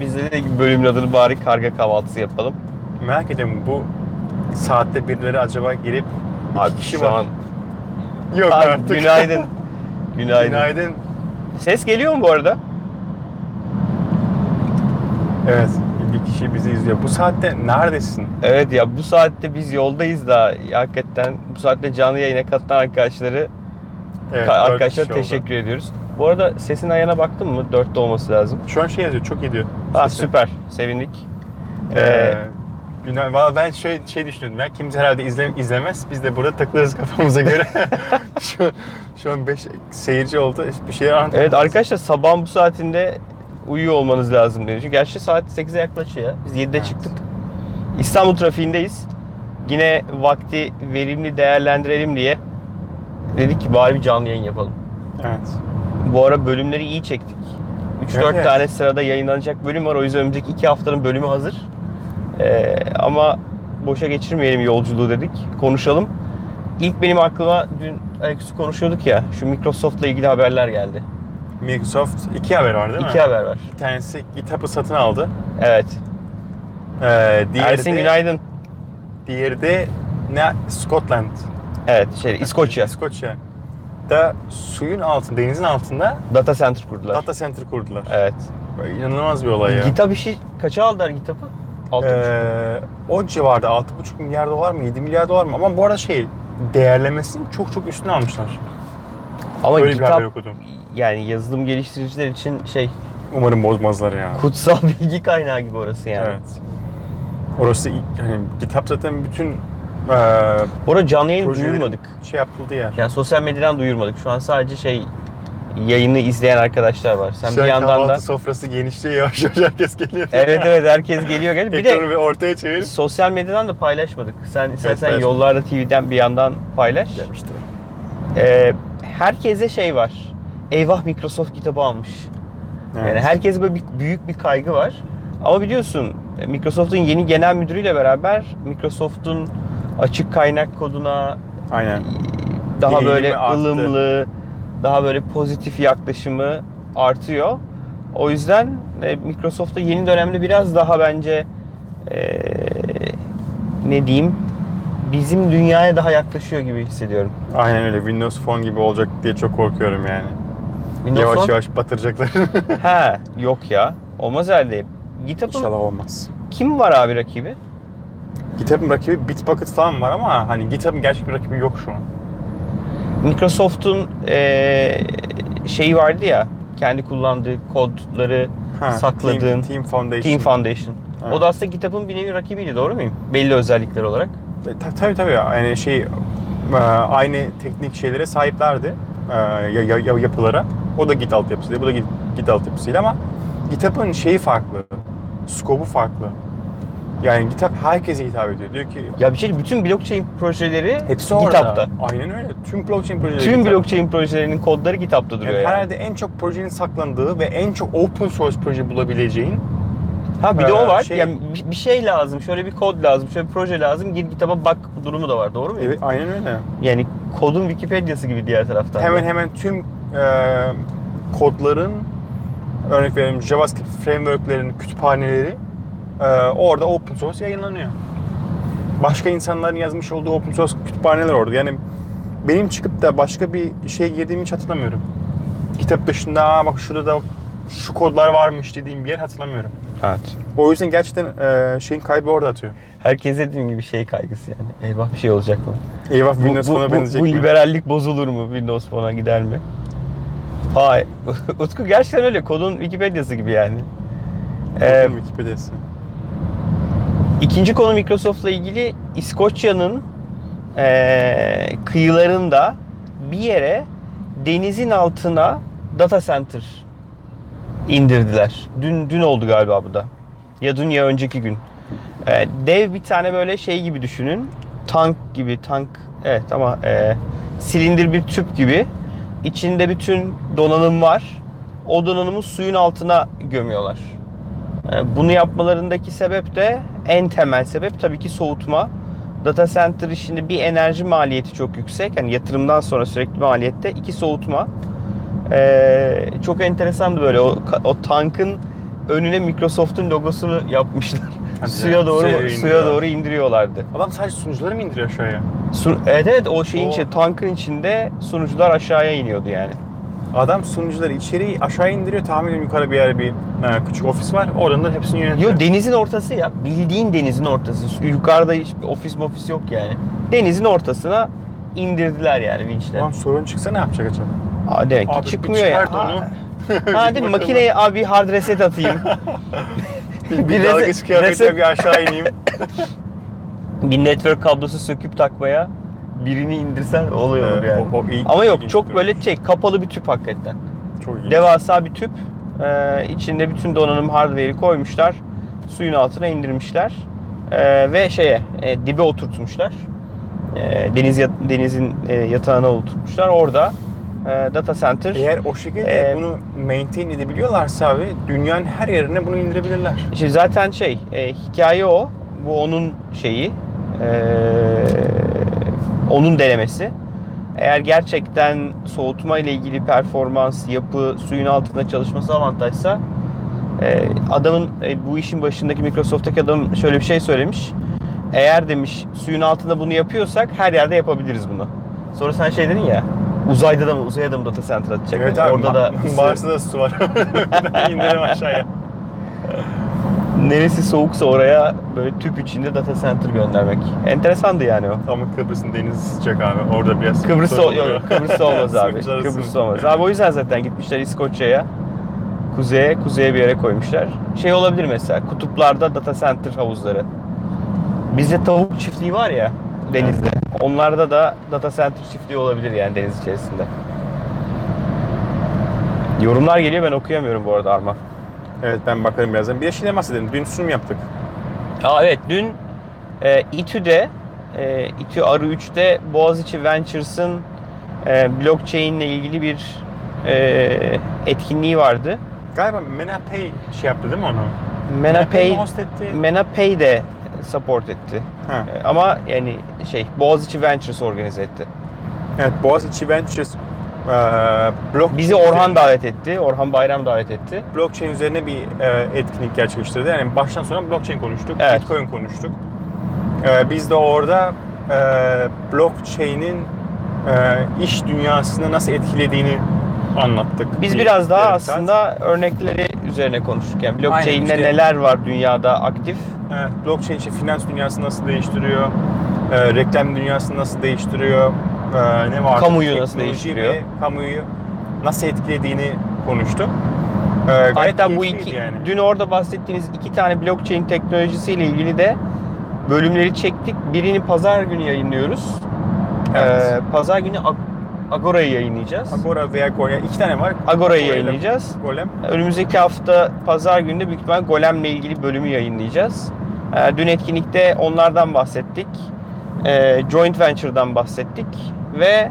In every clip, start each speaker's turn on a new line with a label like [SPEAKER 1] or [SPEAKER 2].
[SPEAKER 1] Bizde de bölümün adını bari karga kahvaltısı yapalım.
[SPEAKER 2] Merak ediyorum bu saatte birileri acaba girip
[SPEAKER 1] Abi
[SPEAKER 2] kişi
[SPEAKER 1] şu
[SPEAKER 2] var.
[SPEAKER 1] an...
[SPEAKER 2] yok
[SPEAKER 1] Abi,
[SPEAKER 2] artık.
[SPEAKER 1] günaydın. günaydın.
[SPEAKER 2] Günaydın.
[SPEAKER 1] Ses geliyor mu bu arada?
[SPEAKER 2] Evet bir kişi bizi izliyor. Bu saatte neredesin?
[SPEAKER 1] Evet ya bu saatte biz yoldayız da ya hakikaten bu saatte canlı yayına katılan arkadaşları ka-
[SPEAKER 2] Evet, dört
[SPEAKER 1] arkadaşlara
[SPEAKER 2] kişi oldu.
[SPEAKER 1] teşekkür ediyoruz. Bu arada sesin ayağına baktın mı? Dörtte olması lazım.
[SPEAKER 2] Şu an şey yazıyor çok iyi diyor.
[SPEAKER 1] Ha
[SPEAKER 2] Sesi.
[SPEAKER 1] süper. Sevindik.
[SPEAKER 2] Ee,
[SPEAKER 1] Ee,
[SPEAKER 2] günay- Valla ben şey, şey düşünüyordum ya kimse herhalde izle, izlemez. Biz de burada takılırız kafamıza göre. şu, şu an 5 seyirci oldu. Bir şey anlatamadım.
[SPEAKER 1] evet arkadaşlar sabahın bu saatinde uyuyor olmanız lazım diyor. Çünkü Gerçi saat 8'e yaklaşıyor. Biz 7'de
[SPEAKER 2] Evet.
[SPEAKER 1] çıktık. İstanbul trafiğindeyiz. Yine vakti verimli değerlendirelim diye dedik ki bari bir canlı yayın yapalım.
[SPEAKER 2] Evet.
[SPEAKER 1] Bu ara bölümleri iyi çektik. 3-4
[SPEAKER 2] Evet, evet.
[SPEAKER 1] tane sırada yayınlanacak bölüm var. O yüzden önümüzdeki 2 haftanın bölümü hazır. Ee, ama boşa geçirmeyelim yolculuğu dedik. Konuşalım. İlk benim aklıma dün ayaküstü konuşuyorduk ya. Şu Microsoft'la ilgili haberler geldi.
[SPEAKER 2] Microsoft iki haber var değil mi?
[SPEAKER 1] İki haber var.
[SPEAKER 2] Bir tanesi GitHub'ı satın aldı.
[SPEAKER 1] Evet.
[SPEAKER 2] Ee, diğeri
[SPEAKER 1] Ersin
[SPEAKER 2] de-
[SPEAKER 1] günaydın.
[SPEAKER 2] Diğeri de ne? Scotland.
[SPEAKER 1] Evet şey İskoçya.
[SPEAKER 2] İskoçya. Da suyun altında, denizin altında
[SPEAKER 1] Data Center kurdular.
[SPEAKER 2] data center kurdular.
[SPEAKER 1] Evet.
[SPEAKER 2] Böyle İnanılmaz bir olay ya.
[SPEAKER 1] GitHub işi kaça aldılar GitHub'ı? Altı buçuk.
[SPEAKER 2] Ee, o civarda 6,5 milyar dolar mı, 7 milyar dolar mı? Ama bu arada şey, değerlemesini çok çok üstüne almışlar.
[SPEAKER 1] Ama
[SPEAKER 2] Böyle bir haber
[SPEAKER 1] GitHub
[SPEAKER 2] okudum.
[SPEAKER 1] yani yazılım geliştiriciler için şey
[SPEAKER 2] Umarım bozmazlar ya.
[SPEAKER 1] kutsal bilgi kaynağı gibi orası yani.
[SPEAKER 2] Evet. Orası ilk- hani GitHub zaten bütün e,
[SPEAKER 1] Bu arada canlı yayını
[SPEAKER 2] projelerin
[SPEAKER 1] duyurmadık.
[SPEAKER 2] şey yapıldı ya.
[SPEAKER 1] Yani sosyal medyadan duyurmadık. Şu an sadece şey yayını izleyen arkadaşlar var. Sen
[SPEAKER 2] Şu
[SPEAKER 1] bir
[SPEAKER 2] an
[SPEAKER 1] yandan da
[SPEAKER 2] kahvaltı sofrası genişliyor yavaş yavaş herkes geliyor.
[SPEAKER 1] Evet evet herkes geliyor gel. Bir
[SPEAKER 2] Ekranı
[SPEAKER 1] de
[SPEAKER 2] bir ortaya çevir.
[SPEAKER 1] sosyal medyadan da paylaşmadık. Sen istersen
[SPEAKER 2] paylaşmadık.
[SPEAKER 1] yollarda TV'den bir yandan paylaş.
[SPEAKER 2] Demiştim.
[SPEAKER 1] Ee, herkese şey var. Eyvah Microsoft kitabı almış. Yani herkes böyle bir- büyük bir kaygı var. Ama biliyorsun e, Microsoft'un yeni genel müdürüyle beraber Microsoft'un açık kaynak koduna
[SPEAKER 2] Aynen.
[SPEAKER 1] daha
[SPEAKER 2] Eğilimi
[SPEAKER 1] böyle
[SPEAKER 2] arttı.
[SPEAKER 1] ılımlı, daha böyle pozitif yaklaşımı artıyor. O yüzden e, Microsoft'ta yeni dönemde biraz daha bence e, ne diyeyim bizim dünyaya daha yaklaşıyor gibi hissediyorum.
[SPEAKER 2] Aynen öyle. Windows Phone gibi olacak diye çok korkuyorum yani.
[SPEAKER 1] Windows
[SPEAKER 2] yavaş
[SPEAKER 1] Phone-
[SPEAKER 2] yavaş batıracaklar.
[SPEAKER 1] He, yok ya. Olmaz herhalde. GitHub'ın
[SPEAKER 2] İnşallah olmaz.
[SPEAKER 1] kim var abi rakibi?
[SPEAKER 2] GitHub'ın rakibi Bitbucket falan var ama hani GitHub'ın gerçek bir rakibi yok şu an.
[SPEAKER 1] Microsoft'un eee, şeyi vardı ya kendi kullandığı kodları sakladığın
[SPEAKER 2] Team,
[SPEAKER 1] Team,
[SPEAKER 2] Team Foundation.
[SPEAKER 1] Foundation.
[SPEAKER 2] Evet.
[SPEAKER 1] O da aslında GitHub'ın bir nevi rakibiydi doğru muyum? Belli özellikler olarak.
[SPEAKER 2] E, ta- tabii tabii. Yani şey e, aynı teknik şeylere sahiplerdi. E, ya- ya- ya- yapılara. O da Git altyapısıyla, bu da Git, Git altyapısıyla ama GitHub'ın şeyi farklı. Skopu farklı. Yani GitHub herkese hitap ediyor. Diyor ki
[SPEAKER 1] Ya bir şey bütün blockchain projeleri
[SPEAKER 2] hepsi orada.
[SPEAKER 1] GitHub'da.
[SPEAKER 2] Aynen öyle. Tüm blockchain projeleri
[SPEAKER 1] Tüm
[SPEAKER 2] GitHub.
[SPEAKER 1] blockchain projelerinin kodları GitHub'da duruyor
[SPEAKER 2] Yani
[SPEAKER 1] yani.
[SPEAKER 2] herhalde en çok projenin saklandığı ve en çok open source proje bulabileceğin
[SPEAKER 1] Ha bir de
[SPEAKER 2] Ee,
[SPEAKER 1] o var.
[SPEAKER 2] şey-
[SPEAKER 1] Yani bir- bir şey lazım, şöyle bir kod lazım, şöyle bir proje lazım. Gir GitHub'a bak durumu da var doğru mu?
[SPEAKER 2] evet aynen öyle.
[SPEAKER 1] Yani kodun Wikipedia'sı gibi diğer taraftan. da.
[SPEAKER 2] Hemen hemen tüm e, kodların örnek verelim JavaScript framework'lerin kütüphaneleri e, orada open source yayınlanıyor. Başka insanların yazmış olduğu open source kütüphaneler orada. Yani benim çıkıp da başka bir şeye girdiğimi hiç hatırlamıyorum. Kitap dışında "Aa bak şurada da şu kodlar varmış dediğim bir yer hatırlamıyorum.
[SPEAKER 1] Evet.
[SPEAKER 2] O yüzden gerçekten e, şeyin kaybı orada atıyor.
[SPEAKER 1] Herkes dediğim gibi şey kaygısı yani. Eyvah bir şey olacak mı?
[SPEAKER 2] Eyvah
[SPEAKER 1] Bu,
[SPEAKER 2] Windows
[SPEAKER 1] bu-
[SPEAKER 2] Phone'a
[SPEAKER 1] bu-
[SPEAKER 2] benzeyecek
[SPEAKER 1] bu
[SPEAKER 2] mi?
[SPEAKER 1] liberallik bozulur mu? Windows Phone'a gider mi? Hayır. Utku gerçekten öyle. Kodun Wikipedia'sı gibi yani. Ee,
[SPEAKER 2] Bakın Wikipedia'sı.
[SPEAKER 1] ikinci konu Microsoft'la ilgili İskoçya'nın ee, kıyılarında bir yere denizin altına data center indirdiler. Dün dün oldu galiba bu da. Ya dün ya önceki gün. Ee, dev bir tane böyle şey gibi düşünün. Tank gibi tank evet ama e, silindir bir tüp gibi. İçinde bütün donanım var. O donanımı suyun altına gömüyorlar. Ee, bunu yapmalarındaki sebep de en temel sebep tabii ki soğutma. Data center işinde bir enerji maliyeti çok yüksek. Yani yatırımdan sonra sürekli maliyette. iki soğutma. Ee, çok enteresandı böyle o, o tankın önüne Microsoft'un logosunu yapmışlar.
[SPEAKER 2] Hadi
[SPEAKER 1] suya
[SPEAKER 2] ya,
[SPEAKER 1] doğru
[SPEAKER 2] suya
[SPEAKER 1] suya
[SPEAKER 2] indiriyor.
[SPEAKER 1] doğru indiriyorlardı.
[SPEAKER 2] Adam sadece sunucuları mı indiriyor aşağıya?
[SPEAKER 1] Su- evet evet o şeyin
[SPEAKER 2] O-
[SPEAKER 1] içi tankın içinde sunucular aşağıya iniyordu yani.
[SPEAKER 2] Adam sunucuları içeri aşağı indiriyor. Tahmin ediyorum yukarı bir yer bir e, küçük ofis var. Oradan da hepsini yönetiyor.
[SPEAKER 1] Yo denizin ortası ya. Bildiğin denizin ortası. Yukarıda hiçbir ofis mofis yok yani. Denizin ortasına indirdiler yani vinçle.
[SPEAKER 2] Ulan sorun çıksa ne yapacak acaba?
[SPEAKER 1] Aa demek ki
[SPEAKER 2] Abi bir
[SPEAKER 1] E, çıkmıyor ya.
[SPEAKER 2] çıkart
[SPEAKER 1] Ha,
[SPEAKER 2] onu.
[SPEAKER 1] ha değil mi? Makineye abi bir hard reset atayım.
[SPEAKER 2] bir,
[SPEAKER 1] bir
[SPEAKER 2] bir
[SPEAKER 1] reset-
[SPEAKER 2] dalgıç
[SPEAKER 1] reset-
[SPEAKER 2] kıyafetle bir aşağı ineyim.
[SPEAKER 1] bir network kablosu söküp takmaya birini indirsen oluyor
[SPEAKER 2] Evet,
[SPEAKER 1] yani.
[SPEAKER 2] E, o- o iyi-
[SPEAKER 1] Ama yok
[SPEAKER 2] iyi
[SPEAKER 1] çok
[SPEAKER 2] gidiyor.
[SPEAKER 1] böyle şey kapalı bir tüp hakikaten.
[SPEAKER 2] Çok iyi.
[SPEAKER 1] Devasa bir tüp. Ee, içinde bütün donanım hardware'i koymuşlar. Suyun altına indirmişler. Ee, ve şeye e, dibe oturtmuşlar. Ee, deniz yat- denizin e, yatağına oturtmuşlar. Orada e, data center.
[SPEAKER 2] Eğer o şekilde
[SPEAKER 1] Ee,
[SPEAKER 2] bunu maintain edebiliyorlarsa abi dünyanın her yerine bunu indirebilirler.
[SPEAKER 1] Şimdi zaten şey e, hikaye o. Bu onun şeyi. e, onun denemesi. Eğer gerçekten soğutma ile ilgili performans, yapı, suyun altında çalışması avantajsa e, adamın e, bu işin başındaki Microsoft'taki adam şöyle bir şey söylemiş. Eğer demiş suyun altında bunu yapıyorsak her yerde yapabiliriz bunu. Sonra sen şey dedin ya uzayda da mı uzaya da mı data center atacak?
[SPEAKER 2] Evet
[SPEAKER 1] Yani
[SPEAKER 2] abi
[SPEAKER 1] orada da
[SPEAKER 2] Mars'ta da su var. İndirelim aşağıya.
[SPEAKER 1] neresi soğuksa oraya böyle tüp içinde data center göndermek. Enteresandı yani o.
[SPEAKER 2] Ama Kıbrıs'ın denizi sıcak abi. Orada biraz
[SPEAKER 1] Kıbrıs'ta
[SPEAKER 2] sorun
[SPEAKER 1] yok,
[SPEAKER 2] oluyor.
[SPEAKER 1] yok, Kıbrıs'ta olmaz abi.
[SPEAKER 2] Sınıflar arası.
[SPEAKER 1] Kıbrıs'ta olmaz. Abi o yüzden zaten gitmişler İskoçya'ya. Kuzeye, kuzeye bir yere koymuşlar. Şey olabilir mesela kutuplarda data center havuzları. Bizde tavuk çiftliği var ya denizde. Onlarda da data center çiftliği olabilir yani deniz içerisinde. Yorumlar geliyor ben okuyamıyorum bu arada Arma.
[SPEAKER 2] Evet ben bakarım birazdan. Bir de şeyden bahsedelim. Dün sunum yaptık.
[SPEAKER 1] Aa, evet dün e, İTÜ'de e, İTÜ Arı 3'te Boğaziçi Ventures'ın e, blockchain ile ilgili bir e, etkinliği vardı.
[SPEAKER 2] Galiba Menapay şey yaptı değil mi onu?
[SPEAKER 1] Menapay,
[SPEAKER 2] mi host etti?
[SPEAKER 1] Menapay de support etti.
[SPEAKER 2] Ha.
[SPEAKER 1] E, ama yani şey Boğaziçi Ventures organize etti.
[SPEAKER 2] Evet Boğaziçi Ventures eee blockchain
[SPEAKER 1] Bizi Orhan davet etti. Orhan Bayram davet etti.
[SPEAKER 2] blockchain üzerine bir e, etkinlik gerçekleştirdi. Yani baştan sona blockchain konuştuk,
[SPEAKER 1] Evet.
[SPEAKER 2] Bitcoin konuştuk. E, biz de orada e, blockchain'in e, iş dünyasını nasıl etkilediğini anlattık.
[SPEAKER 1] Biz
[SPEAKER 2] Bir
[SPEAKER 1] biraz daha
[SPEAKER 2] yarım saat.
[SPEAKER 1] aslında örnekleri üzerine konuştuk. Yani blockchain'de
[SPEAKER 2] işte.
[SPEAKER 1] neler var dünyada aktif.
[SPEAKER 2] Evet, blockchain işte finans dünyasını nasıl değiştiriyor, e, reklam dünyasını nasıl değiştiriyor, e, ne var?
[SPEAKER 1] Kamuyu nasıl
[SPEAKER 2] Teknoloji
[SPEAKER 1] değiştiriyor?
[SPEAKER 2] ve Kamuyu nasıl etkilediğini konuştuk. E, gayet
[SPEAKER 1] Hatta bu
[SPEAKER 2] keyifliydi
[SPEAKER 1] iki,
[SPEAKER 2] yani.
[SPEAKER 1] dün orada bahsettiğiniz iki tane blockchain teknolojisiyle ilgili de bölümleri çektik. Birini pazar günü yayınlıyoruz.
[SPEAKER 2] Evet.
[SPEAKER 1] Ee, pazar günü Ag- Agora'yı yayınlayacağız.
[SPEAKER 2] Agora veya Goya iki tane var.
[SPEAKER 1] Agora'yı
[SPEAKER 2] Goya'yla
[SPEAKER 1] yayınlayacağız.
[SPEAKER 2] Golem.
[SPEAKER 1] Önümüzdeki hafta pazar günü de büyük ihtimal Golem'le ilgili bölümü yayınlayacağız. Ee, dün etkinlikte onlardan bahsettik. Ee, joint Venture'dan bahsettik. Ve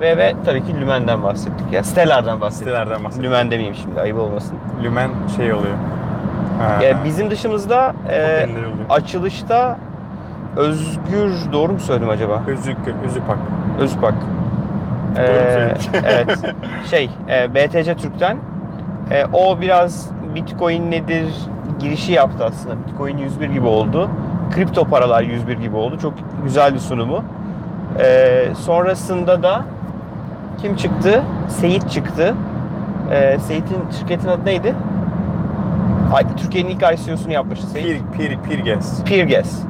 [SPEAKER 1] ve ve tabii ki Lümen'den bahsettik. Ya Stellar'dan bahsettik.
[SPEAKER 2] Sitelerden bahsediyor.
[SPEAKER 1] Lümen demeyeyim şimdi ayıp olmasın.
[SPEAKER 2] Lümen şey oluyor. Ha,
[SPEAKER 1] Ya bizim dışımızda e,
[SPEAKER 2] popüler oluyor.
[SPEAKER 1] açılışta Özgür doğru mu söyledim acaba?
[SPEAKER 2] Özük, özük bak.
[SPEAKER 1] Özpak.
[SPEAKER 2] Doğru mu
[SPEAKER 1] Ee,
[SPEAKER 2] söyledik?
[SPEAKER 1] evet. Şey, e, BTC Türk'ten e, o biraz Bitcoin nedir girişi yaptı aslında. Bitcoin 101 gibi oldu. Kripto paralar 101 gibi oldu. Çok güzel bir sunumu. E, sonrasında da kim çıktı? Seyit çıktı. E, Seyit'in şirketin adı neydi? Ay- Türkiye'nin ilk ICO'sunu yapmıştı. Seyit.
[SPEAKER 2] Pir, pir, pirges.
[SPEAKER 1] Peerges.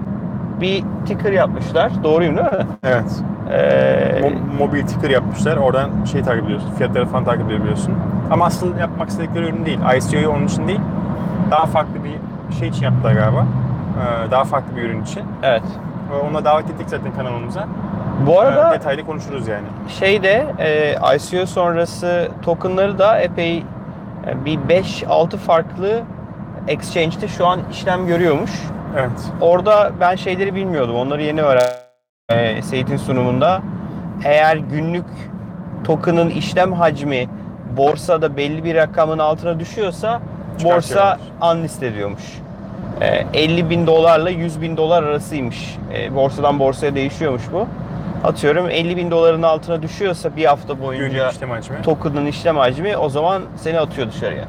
[SPEAKER 1] Bir ticker yapmışlar. Doğruyum değil mi?
[SPEAKER 2] Evet.
[SPEAKER 1] Ee,
[SPEAKER 2] Mo- mobil ticker yapmışlar. Oradan şey takip ediyorsun. Fiyatları falan takip edebiliyorsun. Ama aslında yapmak istedikleri ürün değil. ICO'yu onun için değil. Daha farklı bir şey için yaptılar galiba. Ee, daha farklı bir ürün için.
[SPEAKER 1] evet.
[SPEAKER 2] Ee, Ona davet ettik zaten kanalımıza.
[SPEAKER 1] Bu
[SPEAKER 2] Ee,
[SPEAKER 1] arada
[SPEAKER 2] detaylı konuşuruz yani.
[SPEAKER 1] şeyde e, ICO sonrası tokenları da epey e, bir 5-6 farklı exchange'de şu an işlem görüyormuş.
[SPEAKER 2] Evet.
[SPEAKER 1] Orada ben şeyleri bilmiyordum. Onları yeni öğrendim. Ee, Seyit'in sunumunda. Eğer günlük token'ın işlem hacmi borsada belli bir rakamın altına düşüyorsa borsa unlist ediyormuş. Ee, 50 bin dolarla 100 bin dolar arasıymış. Ee, borsadan borsaya değişiyormuş bu. Atıyorum 50 bin doların altına düşüyorsa bir hafta boyunca
[SPEAKER 2] Günlük işlem hacmi.
[SPEAKER 1] token'ın işlem hacmi o zaman seni atıyor dışarıya.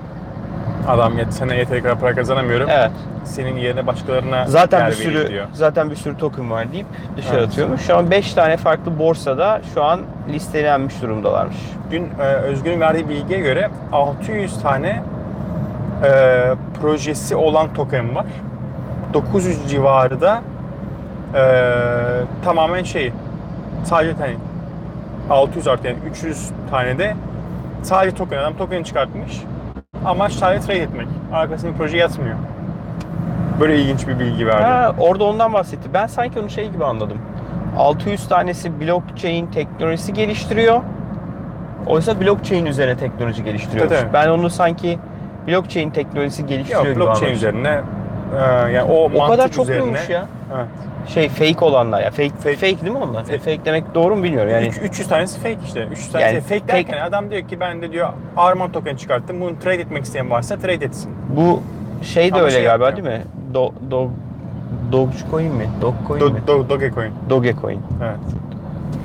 [SPEAKER 2] Adam yet, sana yeteri kadar para kazanamıyorum.
[SPEAKER 1] Evet.
[SPEAKER 2] Senin yerine başkalarına
[SPEAKER 1] Zaten
[SPEAKER 2] yer
[SPEAKER 1] bir
[SPEAKER 2] vereyim
[SPEAKER 1] sürü
[SPEAKER 2] diyor.
[SPEAKER 1] zaten bir sürü token var deyip dışarı
[SPEAKER 2] Evet.
[SPEAKER 1] atıyormuş. Şu an 5 tane farklı borsada şu an listelenmiş durumdalarmış.
[SPEAKER 2] Dün e, Özgün'ün verdiği bilgiye göre 600 tane e, projesi olan token var. 900 civarı da e, tamamen şey sadece hani 600 artı yani 300 tane de sadece token adam token çıkartmış. Amaç sadece trade etmek. Arkasında proje yatmıyor. Böyle ilginç bir bilgi verdi.
[SPEAKER 1] Ha, orada ondan bahsetti. Ben sanki onu şey gibi anladım. 600 tanesi blockchain teknolojisi geliştiriyor. Oysa blockchain üzerine teknoloji geliştiriyor.
[SPEAKER 2] Tabii.
[SPEAKER 1] Ben onu sanki blockchain teknolojisi geliştiriyor
[SPEAKER 2] Yok
[SPEAKER 1] gibi
[SPEAKER 2] blockchain
[SPEAKER 1] anladım.
[SPEAKER 2] üzerine e, yani o,
[SPEAKER 1] Şey O kadar
[SPEAKER 2] mantık
[SPEAKER 1] çok
[SPEAKER 2] üzerine.
[SPEAKER 1] duymuş ya.
[SPEAKER 2] Evet.
[SPEAKER 1] Şey fake olanlar ya. Fake fake,
[SPEAKER 2] Fake.
[SPEAKER 1] değil mi onlar?
[SPEAKER 2] Fake.
[SPEAKER 1] Fake, demek doğru mu bilmiyorum yani.
[SPEAKER 2] Üç- 300 tanesi fake işte. 300 tanesi
[SPEAKER 1] Yani
[SPEAKER 2] fake
[SPEAKER 1] tek-
[SPEAKER 2] derken adam diyor ki ben de diyor Arman token çıkarttım. Bunu trade etmek isteyen varsa trade etsin.
[SPEAKER 1] Bu şey de
[SPEAKER 2] Ama
[SPEAKER 1] öyle
[SPEAKER 2] şey
[SPEAKER 1] galiba
[SPEAKER 2] yapmıyor.
[SPEAKER 1] değil mi? Do, do, Dogecoin mi? Dogcoin mi?
[SPEAKER 2] Do, do, Dogecoin.
[SPEAKER 1] Dogecoin.
[SPEAKER 2] Evet.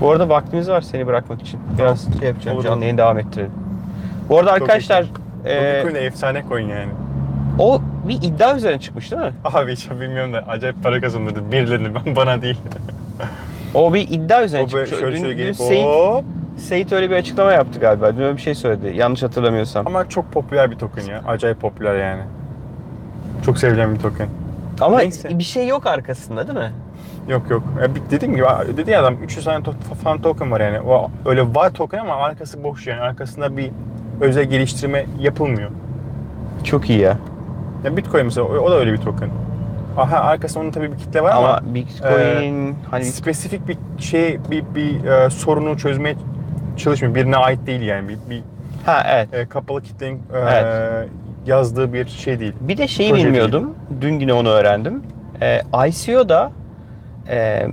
[SPEAKER 1] Bu arada vaktimiz var seni bırakmak için. Biraz şey yapacağım.
[SPEAKER 2] Olur.
[SPEAKER 1] Canlı yayını devam ettirelim. Bu arada arkadaşlar
[SPEAKER 2] Ee,
[SPEAKER 1] e,
[SPEAKER 2] Dogecoin de efsane coin yani.
[SPEAKER 1] o bir iddia üzerine çıkmış değil mi?
[SPEAKER 2] Abi hiç bilmiyorum da acayip para kazandırdı birilerine ben bana değil.
[SPEAKER 1] O bir iddia üzerine
[SPEAKER 2] o böyle
[SPEAKER 1] çıkmış.
[SPEAKER 2] şöyle şöyle gelip
[SPEAKER 1] Seyit,
[SPEAKER 2] hop.
[SPEAKER 1] Seyit öyle bir açıklama yaptı galiba. Dün öyle bir şey söyledi. Yanlış hatırlamıyorsam. Ama,
[SPEAKER 2] Ama çok popüler bir token ya. Acayip popüler yani. Çok sevilen bir token. neyse.
[SPEAKER 1] bir şey yok arkasında değil mi?
[SPEAKER 2] Yok yok. Ya bir- dediğim gibi dedi ya adam 300 tane to- fan token var yani. O, öyle var token ama arkası boş yani. Arkasında bir özel geliştirme yapılmıyor.
[SPEAKER 1] Çok iyi ya.
[SPEAKER 2] Ya Bitcoin mesela o o da öyle bir token. Aha arkasında onun tabii bir kitle var ama, e,
[SPEAKER 1] Ama Bitcoin hani
[SPEAKER 2] spesifik bir şey bir bir e, sorunu çözmeye çalışmıyor. Birine ait değil yani. Bir, bir
[SPEAKER 1] ha evet.
[SPEAKER 2] e, kapalı kitlenin e,
[SPEAKER 1] Evet.
[SPEAKER 2] yazdığı bir şey değil.
[SPEAKER 1] Bir de şeyi
[SPEAKER 2] Proje değil.
[SPEAKER 1] bilmiyordum. Dün yine onu öğrendim. Ee, ICO'da e,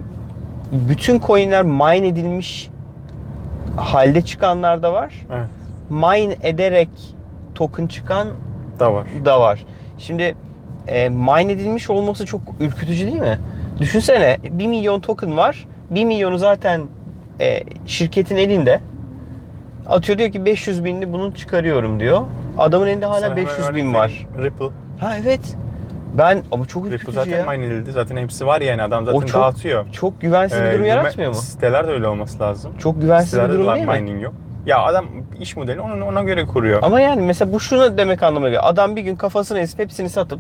[SPEAKER 1] bütün coinler mine edilmiş halde çıkanlar da var.
[SPEAKER 2] Evet.
[SPEAKER 1] Mine ederek token çıkan
[SPEAKER 2] Da var.
[SPEAKER 1] da var. Şimdi e, mine edilmiş olması çok ürkütücü değil mi? Düşünsene 1 milyon token var. 1 milyonu zaten e, şirketin elinde. Atıyor diyor ki 500 binini bunu çıkarıyorum diyor. Adamın elinde hala
[SPEAKER 2] Sana hemen
[SPEAKER 1] 500 bin
[SPEAKER 2] örnek
[SPEAKER 1] var.
[SPEAKER 2] vereyim. Ripple.
[SPEAKER 1] Ha evet. Ben ama çok
[SPEAKER 2] Ripple
[SPEAKER 1] ürkütücü
[SPEAKER 2] zaten
[SPEAKER 1] ya.
[SPEAKER 2] mine edildi. Zaten hepsi var yani. Adam zaten
[SPEAKER 1] O çok
[SPEAKER 2] dağıtıyor.
[SPEAKER 1] Çok güvensiz bir
[SPEAKER 2] Ee,
[SPEAKER 1] durum
[SPEAKER 2] güven-
[SPEAKER 1] yaratmıyor mu?
[SPEAKER 2] Sitelerde öyle olması lazım.
[SPEAKER 1] Çok güvensiz bir
[SPEAKER 2] Sitelerde
[SPEAKER 1] durum
[SPEAKER 2] de
[SPEAKER 1] değil mi?
[SPEAKER 2] mining yok. Ya adam iş modeli onun ona göre kuruyor.
[SPEAKER 1] Ama yani mesela bu şunu demek anlamına geliyor. Adam bir gün kafasını ezip hepsini satıp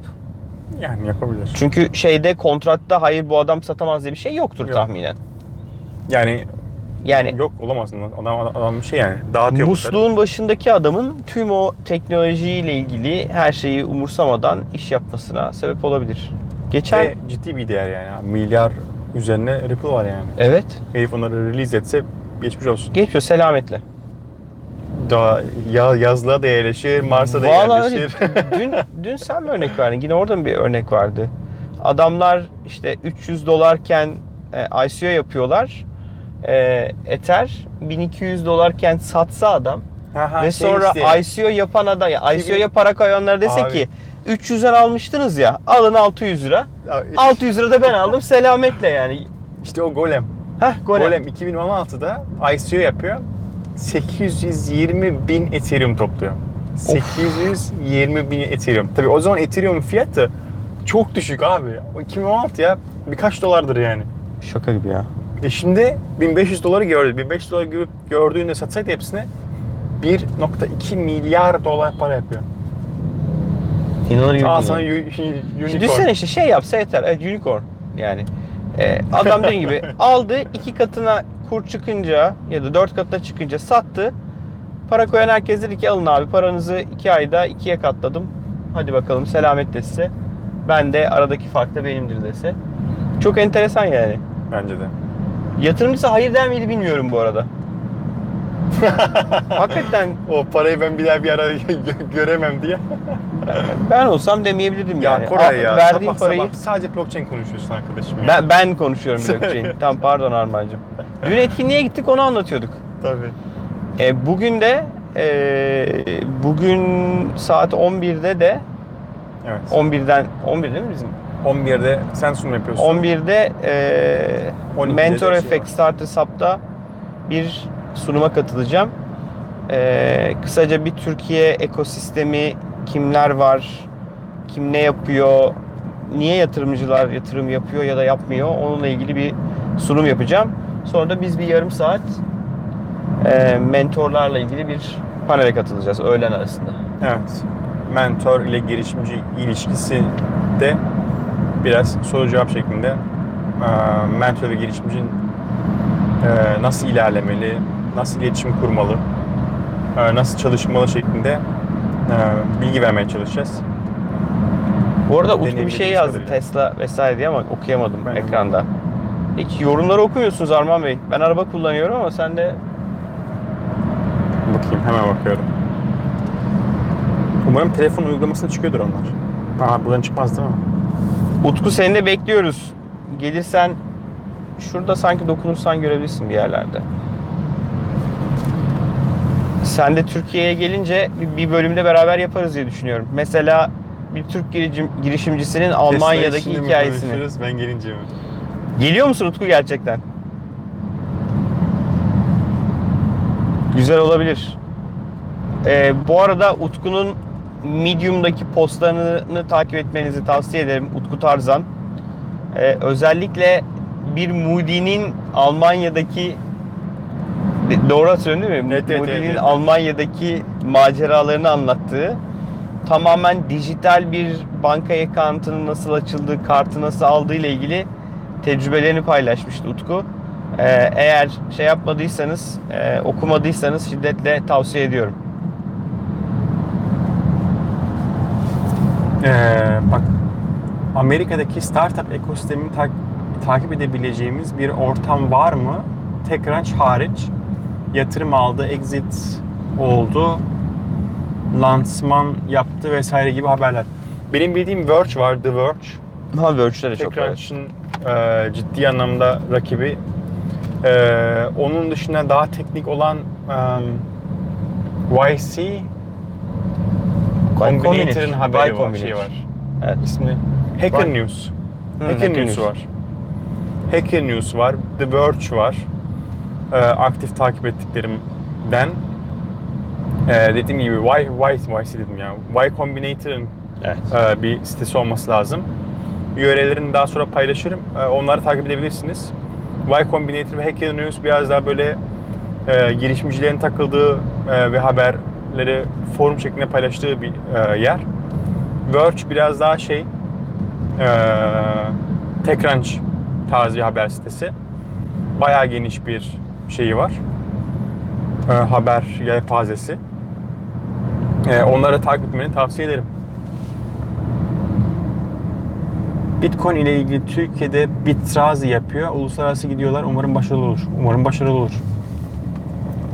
[SPEAKER 2] Yani yapabilir.
[SPEAKER 1] çünkü şeyde kontratta hayır bu adam satamaz diye bir şey yoktur
[SPEAKER 2] Yok.
[SPEAKER 1] tahminen.
[SPEAKER 2] Yani
[SPEAKER 1] Yani
[SPEAKER 2] Yok olamaz. Adam, adam şey yani dağıtıyor. bunları.
[SPEAKER 1] musluğun başındaki adamın tüm o teknolojiyle ilgili her şeyi umursamadan iş yapmasına sebep olabilir. Geçen
[SPEAKER 2] Ve ciddi bir değer yani. Milyar üzerine Ripple var yani.
[SPEAKER 1] evet
[SPEAKER 2] Herif onları release etse geçmiş olsun.
[SPEAKER 1] geçiyor selametle.
[SPEAKER 2] Daha ya, yazlığa da yerleşir, Mars'a da
[SPEAKER 1] Vallahi
[SPEAKER 2] yerleşir.
[SPEAKER 1] öyle. dün, dün sen mi örnek verdin? Yine oradan bir örnek vardı. Adamlar işte 300 dolarken e, ICO yapıyorlar. E, Ether 1200 dolarken satsa adam
[SPEAKER 2] Aha,
[SPEAKER 1] ve
[SPEAKER 2] şey
[SPEAKER 1] sonra
[SPEAKER 2] işte.
[SPEAKER 1] ICO yapan adam ya
[SPEAKER 2] Şey
[SPEAKER 1] ICO'ya para koyanlar dese
[SPEAKER 2] Abi.
[SPEAKER 1] ki 300'den almıştınız ya alın 600 lira.
[SPEAKER 2] Ya,
[SPEAKER 1] 600 lira da ben aldım selametle yani.
[SPEAKER 2] İşte o golem.
[SPEAKER 1] Heh
[SPEAKER 2] Golem,
[SPEAKER 1] golem.
[SPEAKER 2] 2016'da ICO yapıyor. 820 bin Ethereum topluyor. 820 bin Ethereum. Tabii o zaman Ethereum fiyatı çok düşük abi. O 2016 ya birkaç dolardır yani.
[SPEAKER 1] Şaka gibi ya.
[SPEAKER 2] E şimdi 1500 doları gördü. 1500 doları görüp gördüğünde satsaydı hepsini 1.2 milyar dolar para yapıyor.
[SPEAKER 1] İnanır gibi
[SPEAKER 2] Al
[SPEAKER 1] değil.
[SPEAKER 2] sana yu- yu- unicorn.
[SPEAKER 1] Şimdi Düşünsene işte şey yapsa yeter. Evet, unicorn yani. Ee, adam dediğim gibi aldı iki katına kur çıkınca ya da dört katına çıkınca sattı. Para koyan herkes dedi ki alın abi paranızı iki ayda ikiye katladım. Hadi bakalım selametle size. Ben de aradaki fark da benimdir dese. Çok enteresan yani.
[SPEAKER 2] Bence de.
[SPEAKER 1] Yatırımcısı hayır der miydi bilmiyorum bu arada. Hakikaten
[SPEAKER 2] O parayı ben bir daha bir ara göremem diye.
[SPEAKER 1] ben olsam demeyebilirdim
[SPEAKER 2] Ya
[SPEAKER 1] yani.
[SPEAKER 2] Koray ya.
[SPEAKER 1] Al- Verdiğim
[SPEAKER 2] sabah
[SPEAKER 1] parayı
[SPEAKER 2] sabah sadece blockchain konuşuyorsun arkadaşım. ya.
[SPEAKER 1] Ben, ben konuşuyorum blockchain. tamam pardon Armancığım. Dün etkinliğe gittik onu anlatıyorduk.
[SPEAKER 2] Tabii.
[SPEAKER 1] E, bugün de e, bugün saat 11'de de
[SPEAKER 2] Evet.
[SPEAKER 1] 11'den 11 değil mi bizim?
[SPEAKER 2] 11'de sen sunum yapıyorsun.
[SPEAKER 1] 11'de e,
[SPEAKER 2] 12'de
[SPEAKER 1] Mentor
[SPEAKER 2] de şey var.
[SPEAKER 1] Effect Starter Sub'da bir sunuma katılacağım. E, kısaca bir Türkiye ekosistemi kimler var, kim ne yapıyor, niye yatırımcılar yatırım yapıyor ya da yapmıyor onunla ilgili bir sunum yapacağım. Sonra da biz bir yarım saat e, mentorlarla ilgili bir panele katılacağız öğlen arasında.
[SPEAKER 2] Evet. Mentor ile girişimci ilişkisi de biraz soru cevap şeklinde eee, mentor ve girişimcinin eee, nasıl ilerlemeli, nasıl iletişim kurmalı, eee, nasıl çalışmalı şeklinde eee, bilgi vermeye çalışacağız.
[SPEAKER 1] Bu arada Utku bir
[SPEAKER 2] Deneyebildiğimiz
[SPEAKER 1] şey yazdı
[SPEAKER 2] kadarıyla.
[SPEAKER 1] Tesla vesaire diye ama okuyamadım
[SPEAKER 2] Ben de.
[SPEAKER 1] ekranda. Hiç yorumları okumuyorsunuz Arman Bey. Ben araba kullanıyorum ama sen de
[SPEAKER 2] Bakayım hemen bakıyorum. Umarım telefon uygulamasına çıkıyordur onlar. Aha buradan çıkmaz değil mi?
[SPEAKER 1] Utku seni de bekliyoruz. Gelirsen şurada sanki dokunursan görebilirsin bir yerlerde. Sen de Türkiye'ye gelince bir- bir bölümde beraber yaparız diye düşünüyorum. Mesela bir Türk girişim, girişimcisinin Almanya'daki
[SPEAKER 2] Tesla işini mi
[SPEAKER 1] hikayesini.
[SPEAKER 2] konuşuruz, Ben gelince mi?
[SPEAKER 1] Geliyor musun Utku gerçekten? Güzel olabilir. Ee, bu arada Utku'nun Medium'daki postlarını takip etmenizi tavsiye ederim. Utku Tarzan. Ee, özellikle bir Moody'nin Almanya'daki De- doğru hatırlıyorum değil mi?
[SPEAKER 2] Evet, evet,
[SPEAKER 1] Moody'nin
[SPEAKER 2] evet, evet.
[SPEAKER 1] Almanya'daki maceralarını anlattığı tamamen dijital bir banka account'ının nasıl açıldığı, kartı nasıl aldığı ile ilgili tecrübelerini paylaşmıştı Utku. Ee, eğer şey yapmadıysanız, e, okumadıysanız şiddetle tavsiye ediyorum.
[SPEAKER 2] Ee, bak Amerika'daki startup ekosistemini tak- takip edebileceğimiz bir ortam var mı? TechCrunch hariç yatırım aldı, exit oldu, lansman yaptı vesaire gibi haberler. Benim bildiğim Verge var, The Verge.
[SPEAKER 1] Ha Verge'lere çok evet.
[SPEAKER 2] TechCrunch'ın e, ciddi anlamda rakibi. E, onun dışında daha teknik olan e, YC Combinator'ın haberi var, şey var.
[SPEAKER 1] Evet.
[SPEAKER 2] İsmi Hacker
[SPEAKER 1] Vay.
[SPEAKER 2] News.
[SPEAKER 1] Hı,
[SPEAKER 2] Hacker News var. Hacker News var. The Verge var. Ee, aktif takip ettiklerimden. Ee, dediğim gibi Y, Y, YC dedim ya. Y Combinator'ın
[SPEAKER 1] Evet.
[SPEAKER 2] e, bir sitesi olması lazım. URL'lerini daha sonra paylaşırım. E, onları takip edebilirsiniz. Y Combinator ve Hacker News biraz daha böyle e, girişimcilerin takıldığı e, ve haberleri forum şeklinde paylaştığı bir e, yer. Verge biraz daha şey e, TechCrunch tarzı bir haber sitesi. Bayağı geniş bir şeyi var. E, haber yelpazesi. E, onları takip etmeni tavsiye ederim. Bitcoin ile ilgili Türkiye'de Bitrazi yapıyor. Uluslararası gidiyorlar. Umarım başarılı olur. Umarım başarılı olur.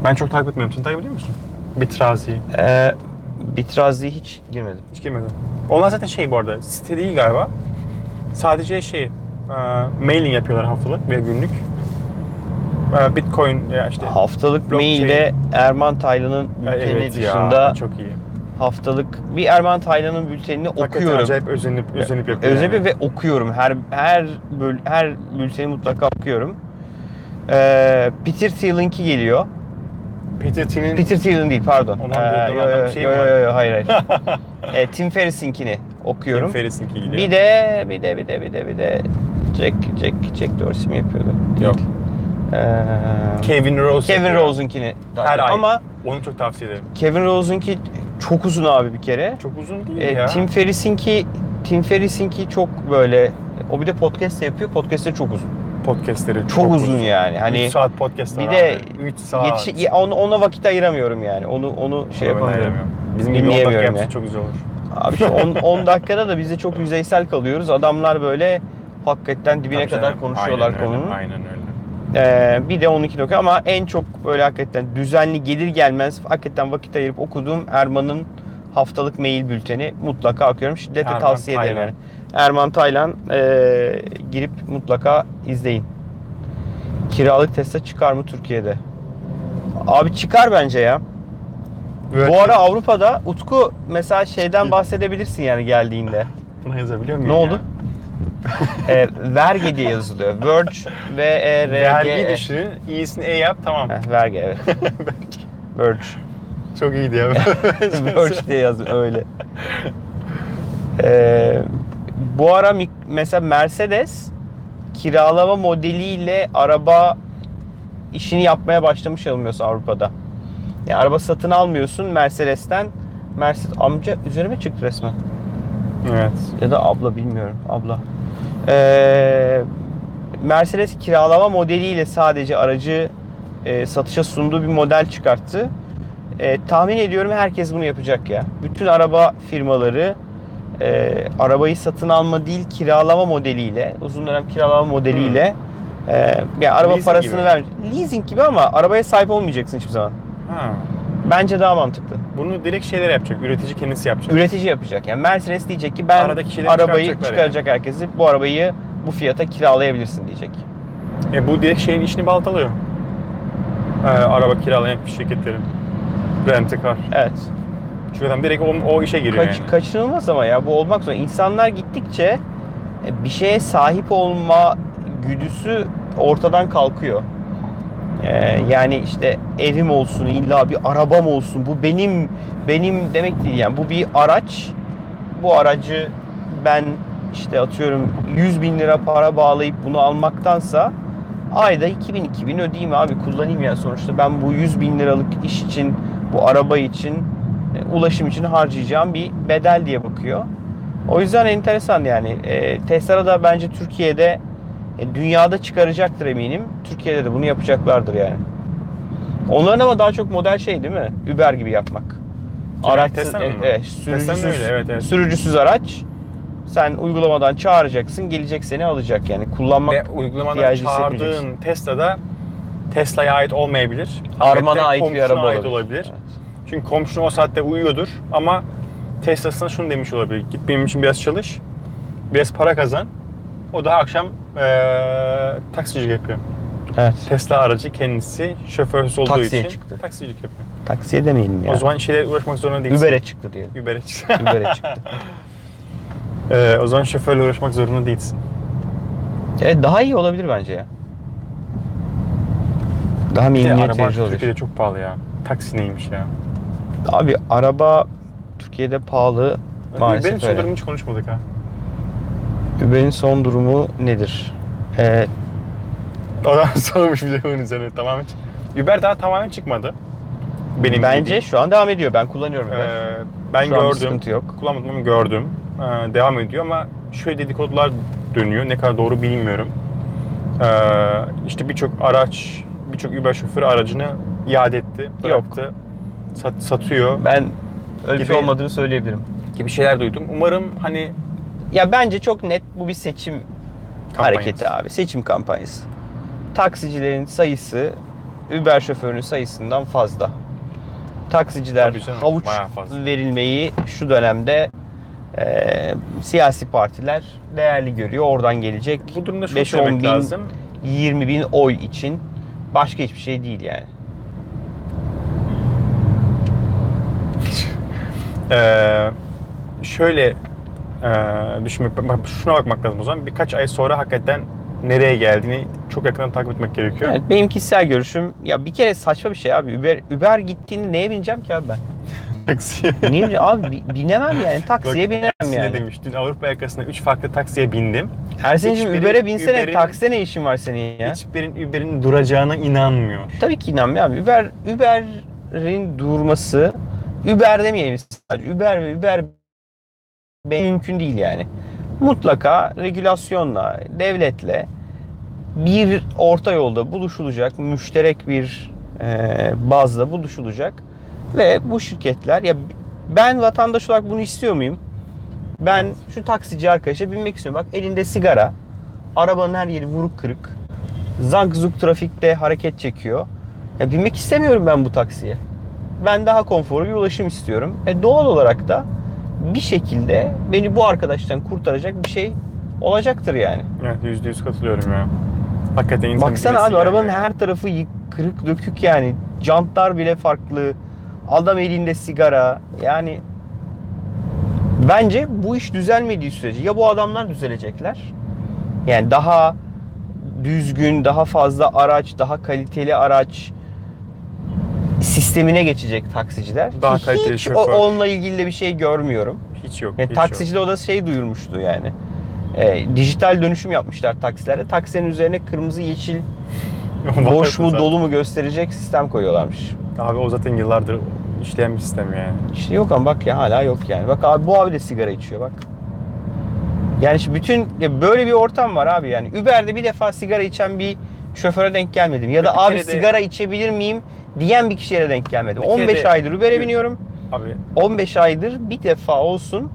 [SPEAKER 2] Ben çok takip etmiyorum. Sen takip ediyor musun? Bitrazi'yi.
[SPEAKER 1] Ee, Bitrazlı'ya hiç girmedim.
[SPEAKER 2] Hiç girmedim. Onlar zaten şey bu arada. Site değil galiba. Sadece şey e, mailing yapıyorlar haftalık ve günlük. E, Bitcoin ya işte.
[SPEAKER 1] Haftalık
[SPEAKER 2] Blockchain.
[SPEAKER 1] mailde Erman Taylan'ın bülteni dışında
[SPEAKER 2] ya. Çok iyi.
[SPEAKER 1] haftalık bir Erman Taylan'ın bültenini
[SPEAKER 2] Hakikaten
[SPEAKER 1] okuyorum.
[SPEAKER 2] Acayip özenip, özenip yapıyor.
[SPEAKER 1] Özellikle
[SPEAKER 2] yani.
[SPEAKER 1] ve okuyorum. Her her böl- her bülteni mutlaka okuyorum. Ee, Peter Thiel'inki geliyor.
[SPEAKER 2] Peter Thiel'in
[SPEAKER 1] Peter Thiel'in değil pardon. Ee,
[SPEAKER 2] Ondan duyduğum
[SPEAKER 1] yo, yo,
[SPEAKER 2] adam şey mi
[SPEAKER 1] yo,
[SPEAKER 2] var?
[SPEAKER 1] yo, yo, hayır hayır. Ee, Tim Ferriss'inkini okuyorum.
[SPEAKER 2] Tim Ferriss'inki gidiyor.
[SPEAKER 1] Bir de bir de bir de bir de bir de Jack Jack Jack Dorsey mi yapıyordu?
[SPEAKER 2] Yok.
[SPEAKER 1] Ee,
[SPEAKER 2] Kevin Rose.
[SPEAKER 1] Kevin
[SPEAKER 2] yapıyor.
[SPEAKER 1] Rose'unkini.
[SPEAKER 2] Her ay.
[SPEAKER 1] Ama
[SPEAKER 2] Onu çok tavsiye ederim.
[SPEAKER 1] Kevin Rose'unki çok uzun abi bir kere.
[SPEAKER 2] Çok uzun değil
[SPEAKER 1] Ee,
[SPEAKER 2] ya.
[SPEAKER 1] Tim Ferriss'inki Tim Ferriss'inki çok böyle o bir de podcast de yapıyor. Podcast de çok uzun.
[SPEAKER 2] podcastleri çok,
[SPEAKER 1] Çok, uzun, yani. Hani
[SPEAKER 2] 3 saat podcast
[SPEAKER 1] bir de
[SPEAKER 2] 3 saat.
[SPEAKER 1] yetiş- ya ona, ona vakit ayıramıyorum yani. Onu onu şey
[SPEAKER 2] Ona ben
[SPEAKER 1] yapamıyorum.
[SPEAKER 2] ayıramıyorum. Bizim gibi 10 dakika
[SPEAKER 1] Dinleyemiyorum
[SPEAKER 2] yapsa
[SPEAKER 1] ya.
[SPEAKER 2] çok güzel olur.
[SPEAKER 1] Abi şu 10 dakikada da biz de çok yüzeysel kalıyoruz. Adamlar böyle hakikaten dibine
[SPEAKER 2] Tabii
[SPEAKER 1] kadar
[SPEAKER 2] canım.
[SPEAKER 1] konuşuyorlar
[SPEAKER 2] Aynen öyle,
[SPEAKER 1] konunun.
[SPEAKER 2] Aynen öyle.
[SPEAKER 1] Ee, bir de 12 dakika ama en çok böyle hakikaten düzenli gelir gelmez hakikaten vakit ayırıp okuduğum Erman'ın haftalık mail bülteni mutlaka okuyorum. Şiddetle
[SPEAKER 2] Erman
[SPEAKER 1] tavsiye ederim
[SPEAKER 2] Taylan.
[SPEAKER 1] yani. Erman Taylan ee, girip mutlaka izleyin. Kiralık Tesla çıkar mı Türkiye'de? Abi çıkar bence ya. Bu ara Avrupa'da Utku mesela şeyden bahsedebilirsin yani geldiğinde.
[SPEAKER 2] Buna yazabiliyor muyum
[SPEAKER 1] Ne
[SPEAKER 2] ya?
[SPEAKER 1] oldu? Ee, vergi diye yazılıyor. Verge ve e, RG.
[SPEAKER 2] Vergi düşünün. İyisini E yap tamam.
[SPEAKER 1] Heh, vergi evet. Verge.
[SPEAKER 2] Çok iyiydi ya.
[SPEAKER 1] Birch diye yazdım öyle. Ee, bu ara mik- mesela Mercedes kiralama modeliyle araba işini yapmaya başlamış yanılmıyorsa Avrupa'da. Yani araba satın almıyorsun Mercedes'ten. Mercedes amca üzerime çıktı resmen.
[SPEAKER 2] evet.
[SPEAKER 1] Ya da abla bilmiyorum. Abla. Ee, Mercedes kiralama modeliyle sadece aracı e, satışa sunduğu bir model çıkarttı. E, tahmin ediyorum herkes bunu yapacak ya. Bütün araba firmaları e, arabayı satın alma değil kiralama modeliyle, uzun dönem kiralama modeliyle e, yani araba
[SPEAKER 2] Leasing
[SPEAKER 1] parasını
[SPEAKER 2] gibi.
[SPEAKER 1] ver. Leasing gibi ama arabaya sahip olmayacaksın hiçbir zaman.
[SPEAKER 2] Ha.
[SPEAKER 1] Bence daha mantıklı.
[SPEAKER 2] Bunu direkt şeyler yapacak. Üretici kendisi yapacak.
[SPEAKER 1] Üretici yapacak. Yani Mercedes diyecek ki ben
[SPEAKER 2] Aradaki şeyleri
[SPEAKER 1] arabayı
[SPEAKER 2] çıkaracaklar
[SPEAKER 1] çıkaracak herkesi bu arabayı bu fiyata kiralayabilirsin diyecek.
[SPEAKER 2] E, bu direkt şeyin işini baltalıyor. Ee, araba kiralayan şirketlerin. Rent a car.
[SPEAKER 1] Evet.
[SPEAKER 2] Çünkü adam direkt o, o işe giriyor
[SPEAKER 1] Kaç,
[SPEAKER 2] yani.
[SPEAKER 1] kaçınılmaz ama ya bu olmak zorunda. İnsanlar gittikçe e, bir şeye sahip olma güdüsü ortadan kalkıyor. Ee, yani işte evim olsun illa bir arabam olsun bu benim benim demek değil yani bu bir araç bu aracı ben işte atıyorum 100 bin lira para bağlayıp bunu almaktansa ayda 2000 2000 ödeyeyim abi kullanayım ya sonuçta ben bu 100 bin liralık iş için bu araba için e, ulaşım için harcayacağım bir bedel diye bakıyor. O yüzden enteresan yani. E, Tesla da bence Türkiye'de e, dünyada çıkaracaktır eminim. Türkiye'de de bunu yapacaklardır yani. Onların ama daha çok model şey değil mi? Uber gibi yapmak. Araçsız,
[SPEAKER 2] Tesla mı?
[SPEAKER 1] e, evet,
[SPEAKER 2] Tesla'nın
[SPEAKER 1] sürücüsüz,
[SPEAKER 2] öyle, evet, evet.
[SPEAKER 1] sürücüsüz araç. Sen uygulamadan çağıracaksın, gelecek seni alacak yani. Kullanmak
[SPEAKER 2] Ve uygulamadan
[SPEAKER 1] ihtiyacı
[SPEAKER 2] çağırdığın
[SPEAKER 1] hissetmeyeceksin.
[SPEAKER 2] Tesla'da Tesla'ya ait olmayabilir.
[SPEAKER 1] Armana
[SPEAKER 2] Hakikaten
[SPEAKER 1] ait bir
[SPEAKER 2] komşuna
[SPEAKER 1] araba
[SPEAKER 2] ait olabilir. Çünkü komşun o saatte uyuyordur ama Tesla'sına şunu demiş olabilir. Git benim için biraz çalış, biraz para kazan. O da akşam eee taksicilik yapıyor.
[SPEAKER 1] Evet. evet.
[SPEAKER 2] Tesla aracı kendisi şoförsüz olduğu
[SPEAKER 1] Taksiye
[SPEAKER 2] için
[SPEAKER 1] çıktı.
[SPEAKER 2] taksicilik yapıyor.
[SPEAKER 1] Taksiye demeyelim ya.
[SPEAKER 2] O zaman şeyle uğraşmak zorunda değilsin.
[SPEAKER 1] Uber'e çıktı diyelim.
[SPEAKER 2] Uber'e çık.
[SPEAKER 1] Uber'e çıktı.
[SPEAKER 2] Eee, o zaman şoförle uğraşmak zorunda değilsin.
[SPEAKER 1] Evet, daha iyi olabilir bence ya. Daha
[SPEAKER 2] Bir de
[SPEAKER 1] memnuniyet
[SPEAKER 2] araba
[SPEAKER 1] verici olur.
[SPEAKER 2] Türkiye'de çok pahalı ya. Taksi neymiş ya.
[SPEAKER 1] Abi araba Türkiye'de pahalı
[SPEAKER 2] Uber'in
[SPEAKER 1] maalesef
[SPEAKER 2] son
[SPEAKER 1] öyle.
[SPEAKER 2] durumunu hiç konuşmadık ha.
[SPEAKER 1] Uber'in son durumu nedir? Ee,
[SPEAKER 2] Adam sormuş bir de bunun üzerine tamamen. çık- Uber daha tamamen çıkmadı. Benim
[SPEAKER 1] bence
[SPEAKER 2] bildiğim.
[SPEAKER 1] şu an devam ediyor. Ben kullanıyorum. Uber.
[SPEAKER 2] Ee, ben
[SPEAKER 1] Şu an bir
[SPEAKER 2] gördüm.
[SPEAKER 1] sıkıntı yok.
[SPEAKER 2] Kullanmadım ama gördüm. Ee, devam ediyor ama şöyle dedikodular dönüyor. Ne kadar doğru bilmiyorum. Ee, işte birçok araç, birçok Uber şoförü aracını iade etti, bıraktı. Sat, satıyor
[SPEAKER 1] Ben öyle bir şey
[SPEAKER 2] Gibi-
[SPEAKER 1] olmadığını söyleyebilirim.
[SPEAKER 2] gibi şeyler duydum. Umarım hani
[SPEAKER 1] Ya bence çok net bu bir seçim
[SPEAKER 2] Kampanyası.
[SPEAKER 1] hareketi abi. Seçim kampanyası. Taksicilerin sayısı Uber şoförünün sayısından fazla. Taksiciler
[SPEAKER 2] Tabii canım,
[SPEAKER 1] havuç
[SPEAKER 2] bayağı fazla.
[SPEAKER 1] verilmeyi şu dönemde e, siyasi partiler değerli görüyor. Oradan gelecek
[SPEAKER 2] bu durumda şunu
[SPEAKER 1] 5-10
[SPEAKER 2] söylemek
[SPEAKER 1] bin-
[SPEAKER 2] lazım.
[SPEAKER 1] 20 bin oy için başka hiçbir şey değil yani.
[SPEAKER 2] Ee, şöyle e, düşünmek, bak- şuna bakmak lazım o zaman. Birkaç ay sonra hakikaten nereye geldiğini çok yakından takip etmek gerekiyor.
[SPEAKER 1] Evet, benim kişisel görüşüm ya bir kere saçma bir şey abi. Uber, Uber gittiğinde neye bineceğim ki abi ben?
[SPEAKER 2] Taksiye.
[SPEAKER 1] Niye bineceğim? abi bi- binemem yani taksiye
[SPEAKER 2] Bak,
[SPEAKER 1] binemem
[SPEAKER 2] Ersin'e
[SPEAKER 1] yani.
[SPEAKER 2] demiş. Dün Avrupa yakasında 3 farklı taksiye bindim.
[SPEAKER 1] Ersin'cim
[SPEAKER 2] Hiçbiri
[SPEAKER 1] Uber'e binsene
[SPEAKER 2] Uber'in-
[SPEAKER 1] takside ne işin var senin ya?
[SPEAKER 2] Hiçbirinin Uber'in duracağına inanmıyor.
[SPEAKER 1] Tabii ki inanmıyor abi. Uber, Uber'in durması Uber demeyelim sadece. Uber ve Uber be- mümkün değil yani. Mutlaka regülasyonla, devletle bir orta yolda buluşulacak, müşterek bir e, bazda buluşulacak ve bu şirketler ya ben vatandaş olarak bunu istiyor muyum? Ben şu taksici arkadaşa binmek istiyorum. Bak elinde sigara, arabanın her yeri vuruk kırık. Zank zuk trafikte hareket çekiyor. Ya binmek istemiyorum ben bu taksiye. Ben daha konforlu bir ulaşım istiyorum. E doğal olarak da bir şekilde beni bu arkadaştan kurtaracak bir şey olacaktır yani.
[SPEAKER 2] Evet yüzde yüz katılıyorum ya. Hakikaten insan
[SPEAKER 1] Baksana
[SPEAKER 2] bilesi
[SPEAKER 1] abi
[SPEAKER 2] yani.
[SPEAKER 1] arabanın her tarafı yık- kırık dökük yani. Jantlar bile farklı. Adam elinde sigara. Yani bence bu iş düzelmediği sürece ya bu adamlar düzelecekler. Yani daha düzgün, daha fazla araç, daha kaliteli araç sistemine geçecek taksiciler.
[SPEAKER 2] Daha
[SPEAKER 1] Ki
[SPEAKER 2] kaliteli
[SPEAKER 1] Hiç o-
[SPEAKER 2] şoför.
[SPEAKER 1] onunla ilgili de bir şey görmüyorum.
[SPEAKER 2] Hiç yok.
[SPEAKER 1] Yani
[SPEAKER 2] hiç
[SPEAKER 1] taksici de o da şey duyurmuştu yani. E, dijital dönüşüm yapmışlar taksilerde. Taksinin üzerine kırmızı yeşil
[SPEAKER 2] yok.
[SPEAKER 1] boş
[SPEAKER 2] Bakarsın
[SPEAKER 1] mu
[SPEAKER 2] sen.
[SPEAKER 1] dolu mu gösterecek sistem koyuyorlarmış.
[SPEAKER 2] Abi o zaten yıllardır işleyen bir sistem yani.
[SPEAKER 1] İşte yok ama bak ya hala yok yani. Bak abi bu abi de sigara içiyor bak. Yani şu bütün ya böyle bir ortam var abi yani. Uber'de bir defa sigara içen bir şoföre denk gelmedim. Ya da
[SPEAKER 2] Bir
[SPEAKER 1] abi
[SPEAKER 2] kere de-
[SPEAKER 1] sigara içebilir miyim diyen bir kişiye de denk gelmedim.
[SPEAKER 2] Bir kere
[SPEAKER 1] 15
[SPEAKER 2] de-
[SPEAKER 1] aydır Uber'e biniyorum.
[SPEAKER 2] Abi
[SPEAKER 1] 15 aydır bir defa olsun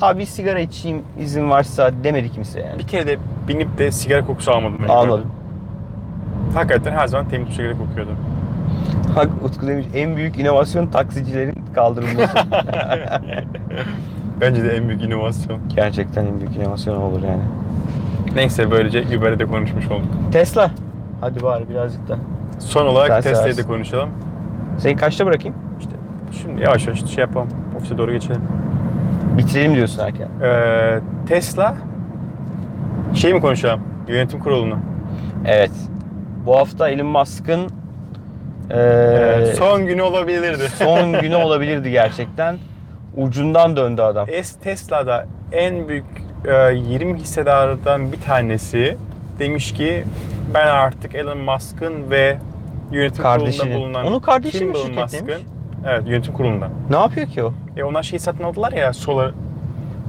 [SPEAKER 1] abi sigara içeyim izin varsa demedi kimse yani.
[SPEAKER 2] bir kere de binip de sigara kokusu almadım. ben.
[SPEAKER 1] Almadım.
[SPEAKER 2] Hakikaten her zaman temiz bir şekilde kokuyordu.
[SPEAKER 1] Bak Utku demiş en büyük inovasyon taksicilerin kaldırılması.
[SPEAKER 2] Bence de en büyük inovasyon.
[SPEAKER 1] Gerçekten en büyük inovasyon olur yani.
[SPEAKER 2] Neyse böylece Uber'e de konuşmuş olduk.
[SPEAKER 1] Tesla. Hadi bari birazcık da.
[SPEAKER 2] Son
[SPEAKER 1] Sen
[SPEAKER 2] olarak Tesla'yı
[SPEAKER 1] seversin.
[SPEAKER 2] da konuşalım.
[SPEAKER 1] Seni kaçta bırakayım?
[SPEAKER 2] İşte şimdi yavaş yavaş şey yapalım. Ofise doğru geçelim.
[SPEAKER 1] Bitirelim diyorsun erken.
[SPEAKER 2] Ee, Tesla şey mi konuşalım? Yönetim kurulunu.
[SPEAKER 1] Evet. Bu hafta Elon Musk'ın eee,
[SPEAKER 2] Ee,
[SPEAKER 1] son,
[SPEAKER 2] son günü olabilirdi.
[SPEAKER 1] günü olabilirdi gerçekten. Ucundan döndü adam.
[SPEAKER 2] Es Tesla'da en büyük e, 20 hissedardan bir tanesi demiş ki ben artık Elon Musk'ın ve yönetim
[SPEAKER 1] Kardeşinin.
[SPEAKER 2] kurulunda bulunan
[SPEAKER 1] Onun kardeşi mi
[SPEAKER 2] Kimball
[SPEAKER 1] şirket demiş?
[SPEAKER 2] Evet yönetim kurulunda.
[SPEAKER 1] Ne yapıyor ki o?
[SPEAKER 2] E onlar şeyi satın aldılar ya Solar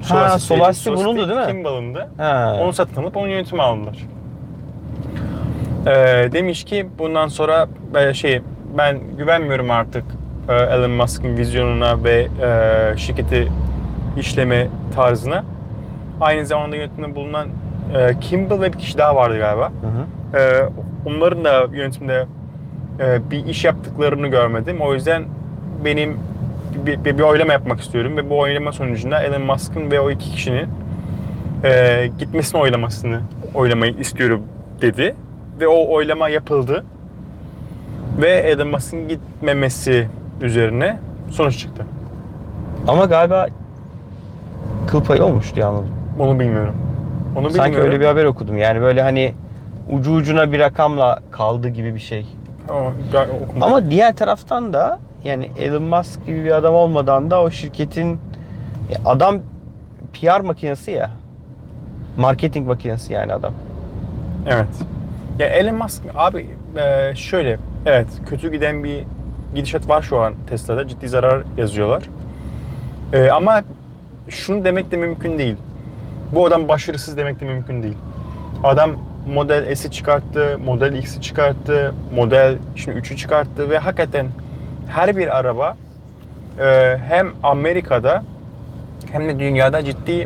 [SPEAKER 1] Ha,
[SPEAKER 2] City-
[SPEAKER 1] Solar City bunundu değil mi?
[SPEAKER 2] Kimbal'ındı.
[SPEAKER 1] Ha.
[SPEAKER 2] Onu satın alıp onun yönetimi aldılar. Ee, demiş ki bundan sonra ben şey ben güvenmiyorum artık e, Elon Musk'ın vizyonuna ve e, şirketi işleme tarzına. Aynı zamanda yönetimde bulunan e, Kimball ve bir kişi daha vardı galiba.
[SPEAKER 1] Hı hı.
[SPEAKER 2] E, onların da yönetimde e, bir iş yaptıklarını görmedim. O yüzden benim bir, bir, bir oylama yapmak istiyorum ve bu oylama sonucunda Elon Musk'ın ve o iki kişinin e, gitmesini oylamasını oylamayı istiyorum dedi ve o oylama yapıldı ve Elon Musk'ın gitmemesi üzerine sonuç çıktı.
[SPEAKER 1] Ama galiba kıl payı olmuştu yalnız.
[SPEAKER 2] Onu bilmiyorum. Onu bilmiyorum.
[SPEAKER 1] Sanki öyle bir haber okudum. Yani böyle hani ucu ucuna bir rakamla kaldı gibi bir şey.
[SPEAKER 2] Ama ben okumadım.
[SPEAKER 1] Ama diğer taraftan da yani Elon Musk gibi bir adam olmadan da o şirketin ya adam PR makinesi ya. Marketing makinesi yani adam.
[SPEAKER 2] Evet. Ya Elon Musk abi e, şöyle evet kötü giden bir gidişat var şu an Tesla'da ciddi zarar yazıyorlar. E, ama şunu demek de mümkün değil. Bu adam başarısız demek de mümkün değil. Adam Model S'i çıkarttı, Model X'i çıkarttı, Model şimdi 3'ü çıkarttı ve hakikaten her bir araba e, hem Amerika'da hem de dünyada ciddi e,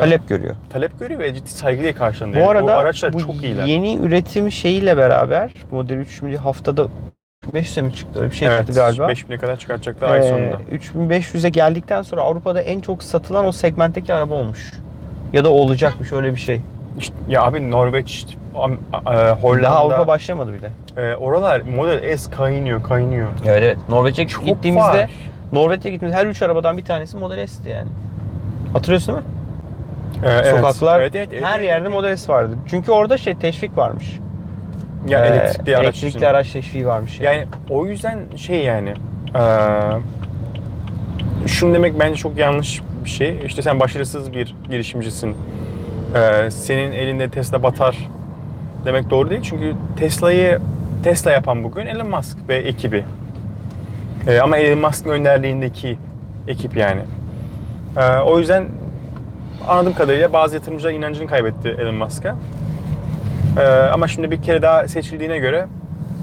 [SPEAKER 1] Talep görüyor.
[SPEAKER 2] talep görüyor ve ciddi saygıyla karşılanıyor.
[SPEAKER 1] Bu
[SPEAKER 2] Yani
[SPEAKER 1] arada
[SPEAKER 2] o araçlar
[SPEAKER 1] bu
[SPEAKER 2] çok iyiler.
[SPEAKER 1] yeni üretim şeyiyle beraber Model 3 şimdi haftada 500'e mi çıktı? Öyle bir şey
[SPEAKER 2] evet,
[SPEAKER 1] çıktı galiba.
[SPEAKER 2] 5000'e kadar çıkartacaklar ay
[SPEAKER 1] Ee,
[SPEAKER 2] sonunda.
[SPEAKER 1] 3500'e geldikten sonra Avrupa'da en çok satılan o segmentteki araba olmuş. Ya da olacakmış öyle bir şey.
[SPEAKER 2] İşte, ya abi Norveç, Am- a- e,
[SPEAKER 1] Daha Avrupa
[SPEAKER 2] Hollanda,
[SPEAKER 1] başlamadı bile.
[SPEAKER 2] e, oralar Model S kaynıyor, kaynıyor.
[SPEAKER 1] Evet evet. Norveç'e
[SPEAKER 2] Çok
[SPEAKER 1] gittiğimizde
[SPEAKER 2] var.
[SPEAKER 1] Norveç'e gittiğimiz her üç arabadan bir tanesi Model S'ti yani. Hatırlıyorsun değil mi?
[SPEAKER 2] E, evet.
[SPEAKER 1] Sokaklar
[SPEAKER 2] Evet, evet, evet,
[SPEAKER 1] her
[SPEAKER 2] evet.
[SPEAKER 1] yerde Model S vardı. Çünkü orada şey teşvik varmış.
[SPEAKER 2] ya,
[SPEAKER 1] Ee,
[SPEAKER 2] elektrikli araç
[SPEAKER 1] elektrikli
[SPEAKER 2] için.
[SPEAKER 1] araç teşviği varmış. Yani.
[SPEAKER 2] Yani o yüzden şey yani e, şunu demek bence çok yanlış bir şey. İşte sen başarısız bir girişimcisin. E, senin elinde Tesla batar demek doğru değil. Çünkü Tesla'yı Tesla yapan bugün Elon Musk ve ekibi. E, ama Elon Musk'ın önderliğindeki ekip yani. E, o yüzden anladığım kadarıyla bazı yatırımcılar inancını kaybetti Elon Musk'a. E, ama şimdi bir kere daha seçildiğine göre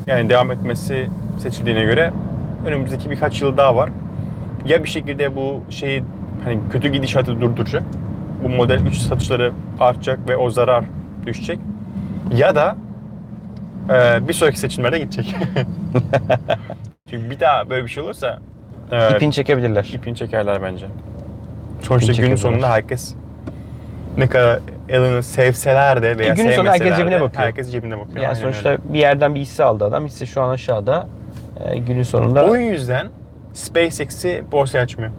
[SPEAKER 2] yani devam etmesi seçildiğine göre önümüzdeki birkaç yıl daha var. Ya bir şekilde bu şeyi hani kötü gidişatı durduracak. Bu model 3 satışları artacak ve o zarar düşecek. Ya da e, bir sonraki seçimlerde gidecek. Çünkü bir daha böyle bir şey olursa e,
[SPEAKER 1] İpini çekebilirler.
[SPEAKER 2] ipini çekerler bence. Sonuçta günün
[SPEAKER 1] çekerler.
[SPEAKER 2] sonunda herkes ne kadar Elon'u sevseler de veya
[SPEAKER 1] E, günün sonunda
[SPEAKER 2] sevmeseler
[SPEAKER 1] herkes
[SPEAKER 2] de
[SPEAKER 1] cebine bakıyor.
[SPEAKER 2] Herkes cebine bakıyor.
[SPEAKER 1] Yani
[SPEAKER 2] Aynen
[SPEAKER 1] sonuçta
[SPEAKER 2] öyle.
[SPEAKER 1] bir yerden bir hisse aldı adam. Hisse şu an aşağıda. Ee, günün sonunda
[SPEAKER 2] O yüzden SpaceX'i borsaya açmıyor.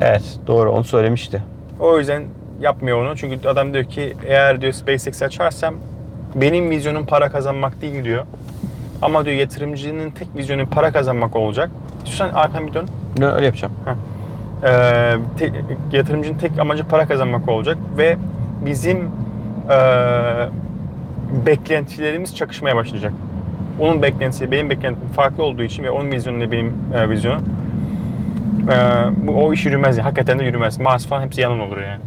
[SPEAKER 1] evet doğru onu söylemişti.
[SPEAKER 2] O yüzden yapmıyor onu. Çünkü adam diyor ki eğer diyor SpaceX açarsam benim vizyonum para kazanmak değil diyor. Ama diyor yatırımcının tek vizyonu para kazanmak olacak. İstiyorsan arkan bir dön.
[SPEAKER 1] Ben öyle yapacağım.
[SPEAKER 2] Ee, te- yatırımcının tek amacı para kazanmak olacak ve bizim ee, beklentilerimiz çakışmaya başlayacak. Onun beklentisi benim beklentim farklı olduğu için ve onun vizyonu da benim e, vizyonum. Ee, bu o iş yürümez yani. Hakikaten de yürümez. Mars falan hepsi yalan olur yani.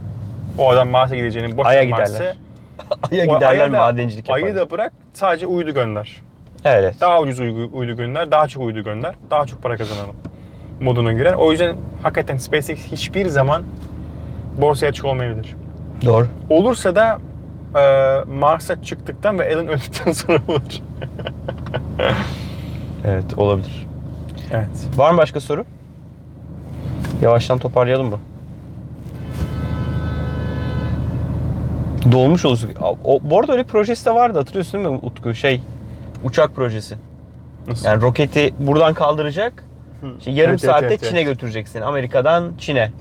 [SPEAKER 2] O adam Mars'a gideceğini boş
[SPEAKER 1] Ay'a
[SPEAKER 2] ver Mars'ı.
[SPEAKER 1] giderler. Aya
[SPEAKER 2] O
[SPEAKER 1] giderler
[SPEAKER 2] ayı da-
[SPEAKER 1] madencilik yapar.
[SPEAKER 2] Ayı da bırak sadece uydu gönder.
[SPEAKER 1] Evet.
[SPEAKER 2] Daha ucuz uydu, uydu gönder, daha çok uydu gönder, daha çok para kazanalım moduna girer. O yüzden hakikaten SpaceX hiçbir zaman borsaya açık olmayabilir.
[SPEAKER 1] Doğru.
[SPEAKER 2] Olursa da e, Mars'a çıktıktan ve Elon öldükten sonra olur.
[SPEAKER 1] Evet olabilir.
[SPEAKER 2] Evet.
[SPEAKER 1] Var mı başka soru? Yavaştan toparlayalım mı? Dolmuş olsun. O, bu arada öyle bir projesi de vardı hatırlıyorsun değil mi Utku? Şey uçak projesi.
[SPEAKER 2] Nasıl?
[SPEAKER 1] Yani roketi buradan kaldıracak. işte yarım
[SPEAKER 2] Evet, evet,
[SPEAKER 1] saatte
[SPEAKER 2] evet,
[SPEAKER 1] Çin'e götüreceksin. Amerika'dan Çin'e.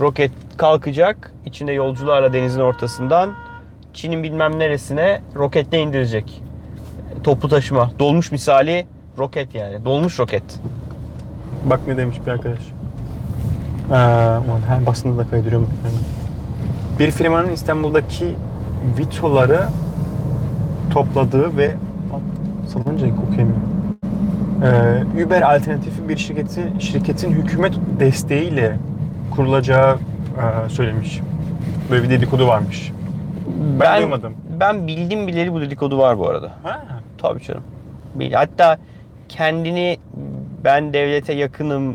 [SPEAKER 1] Roket kalkacak. içinde yolcularla denizin ortasından Çin'in bilmem neresine roketle indirecek. Toplu taşıma. Dolmuş misali roket yani. Dolmuş roket.
[SPEAKER 2] Bak ne demiş bir arkadaş. Ee, ulan her basında da kaydırıyorum. Bir firmanın İstanbul'daki vitoları topladığı ve salınca kokuyamıyor. Ee, Uber alternatifi bir şirketi şirketin hükümet desteğiyle kurulacağı e, söylemiş. Böyle bir dedikodu varmış. Ben, duymadım.
[SPEAKER 1] Ben bildim bileli bu dedikodu var bu arada.
[SPEAKER 2] Ha.
[SPEAKER 1] Tabii canım. Bil- Hatta kendini ben devlete yakınım,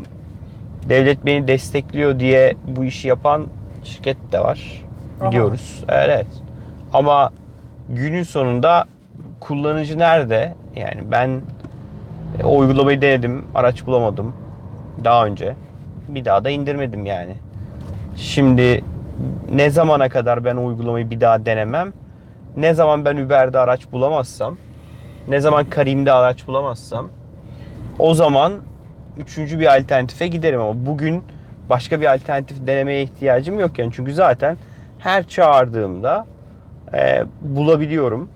[SPEAKER 1] devlet beni destekliyor diye bu işi yapan şirket de var.
[SPEAKER 2] Aha.
[SPEAKER 1] Biliyoruz. Evet. Ama günün sonunda kullanıcı nerede? Yani ben e, o uygulamayı denedim, araç bulamadım daha önce. Bir daha da indirmedim yani. Şimdi ne zamana kadar ben o uygulamayı bir daha denemem? Ne zaman ben Uber'de araç bulamazsam, ne zaman Karim'de araç bulamazsam o zaman üçüncü bir alternatife giderim ama bugün başka bir alternatif denemeye ihtiyacım yok yani çünkü zaten her çağırdığımda e, bulabiliyorum.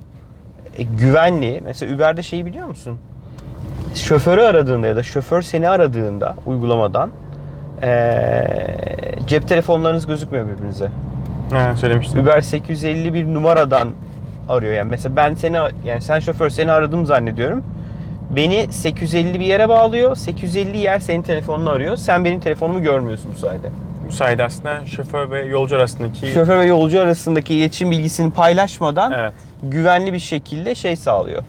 [SPEAKER 1] E, güvenli. Mesela Uber'de şeyi biliyor musun? Şoförü aradığında ya da şoför seni aradığında uygulamadan e, cep telefonlarınız gözükmüyor birbirinize.
[SPEAKER 2] Ha, söylemiştim.
[SPEAKER 1] Uber 850 bir numaradan arıyor yani. Mesela ben seni yani sen şoför seni aradım zannediyorum. Beni 850 bir yere bağlıyor. 850 yer senin telefonunu arıyor. Sen benim telefonumu görmüyorsun bu sayede.
[SPEAKER 2] Bu sayede aslında şoför ve yolcu arasındaki...
[SPEAKER 1] Şoför ve yolcu arasındaki iletişim bilgisini paylaşmadan
[SPEAKER 2] Evet.
[SPEAKER 1] güvenli bir şekilde şey sağlıyor.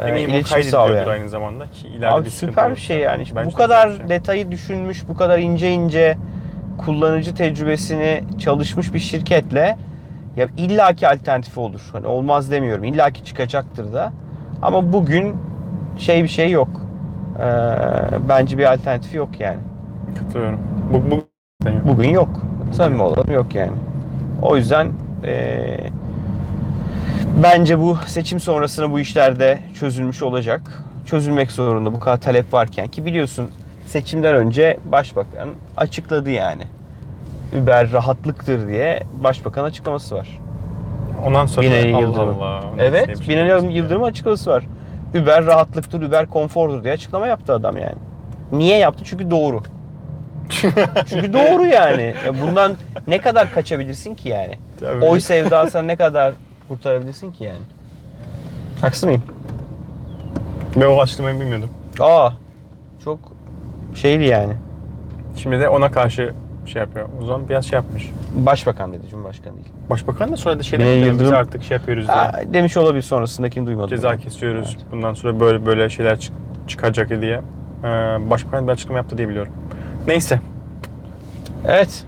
[SPEAKER 1] Ee,
[SPEAKER 2] Eminim o
[SPEAKER 1] iletişim
[SPEAKER 2] kaydediliyordur
[SPEAKER 1] yani.
[SPEAKER 2] aynı zamanda ki ileride
[SPEAKER 1] Abi
[SPEAKER 2] sıkıntı
[SPEAKER 1] süper bir
[SPEAKER 2] olursa.
[SPEAKER 1] şey yani.
[SPEAKER 2] Bence
[SPEAKER 1] bu
[SPEAKER 2] de
[SPEAKER 1] kadar
[SPEAKER 2] güzel bir şey.
[SPEAKER 1] detayı düşünmüş, bu kadar ince ince kullanıcı tecrübesini çalışmış bir şirketle ya illaki alternatifi olur. Hani olmaz demiyorum. illaki çıkacaktır da. Ama bugün şey bir şey yok. Ee, bence bir alternatifi yok yani.
[SPEAKER 2] Katılıyorum. Bu, bu
[SPEAKER 1] Bugün yok. Samimi olalım yok yani. O yüzden eee, bence bu seçim sonrasında bu işlerde çözülmüş olacak. Çözülmek zorunda bu kadar talep varken ki biliyorsun seçimden önce başbakan açıkladı yani. Uber rahatlıktır diye başbakan açıklaması var.
[SPEAKER 2] ondan sonra
[SPEAKER 1] Binali
[SPEAKER 2] Allah
[SPEAKER 1] Yıldırım.
[SPEAKER 2] Allah. Ondan sonra
[SPEAKER 1] Evet,
[SPEAKER 2] hep
[SPEAKER 1] Binali
[SPEAKER 2] şey-
[SPEAKER 1] Yıldırım açıklaması var. Uber rahatlıktır, Uber konfordur diye açıklama yaptı adam yani. Niye yaptı? Çünkü doğru. Çünkü doğru yani. Ya bundan ne kadar kaçabilirsin ki yani?
[SPEAKER 2] Tabii.
[SPEAKER 1] Oy sevdasını ne kadar kurtarabilirsin ki yani? Haksız mıyım?
[SPEAKER 2] Ben o açıklamayı bilmiyordum.
[SPEAKER 1] Aa, çok şeydi yani.
[SPEAKER 2] Şimdi de ona karşı şey yapıyor. O zaman biraz şey yapmış.
[SPEAKER 1] Başbakan dedi, Cumhurbaşkanı değil.
[SPEAKER 2] Başbakan da sonra da şey
[SPEAKER 1] Binali
[SPEAKER 2] demiş. yani Biz
[SPEAKER 1] Yıldırım-
[SPEAKER 2] artık şey yapıyoruz
[SPEAKER 1] Aa,
[SPEAKER 2] da.
[SPEAKER 1] demiş olabilir sonrasındakini duymadım.
[SPEAKER 2] Ceza kesiyoruz. Bundan sonra böyle böyle şeyler çık- çıkacak diye. Ee, başbakan bir açıklama yaptı diye biliyorum. Neyse.
[SPEAKER 1] Evet.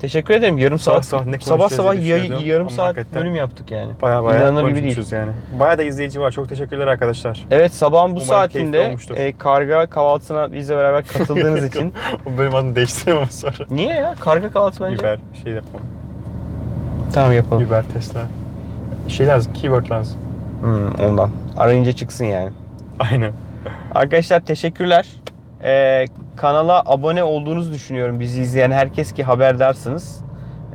[SPEAKER 1] Teşekkür ederim. Yarım
[SPEAKER 2] Sabah
[SPEAKER 1] saat
[SPEAKER 2] sabah ne
[SPEAKER 1] sabah
[SPEAKER 2] konuşacağız
[SPEAKER 1] sabah
[SPEAKER 2] diye
[SPEAKER 1] yay-
[SPEAKER 2] düşünüyordum
[SPEAKER 1] yarım
[SPEAKER 2] ama
[SPEAKER 1] saat
[SPEAKER 2] hakikaten
[SPEAKER 1] bölüm yaptık yani.
[SPEAKER 2] Baya baya
[SPEAKER 1] İnanılır gibi değil.
[SPEAKER 2] konuşmuşuz yani. Baya da izleyici var. Çok teşekkürler arkadaşlar.
[SPEAKER 1] Evet sabahın bu
[SPEAKER 2] Umarım keyifli
[SPEAKER 1] saatinde
[SPEAKER 2] olmuştur.
[SPEAKER 1] e, karga kahvaltısına bizle beraber katıldığınız için.
[SPEAKER 2] o bölüm adını değiştiremem sonra.
[SPEAKER 1] Niye ya? Karga kahvaltı bence.
[SPEAKER 2] Biber şey yapma.
[SPEAKER 1] Tamam yapalım.
[SPEAKER 2] Biber Tesla. Şey lazım. Keyword lazım.
[SPEAKER 1] Hmm, ondan. Arayınca çıksın yani.
[SPEAKER 2] Aynen.
[SPEAKER 1] Arkadaşlar teşekkürler. Ee, kanala abone olduğunuzu düşünüyorum bizi izleyen herkes ki e, haberdarsınız.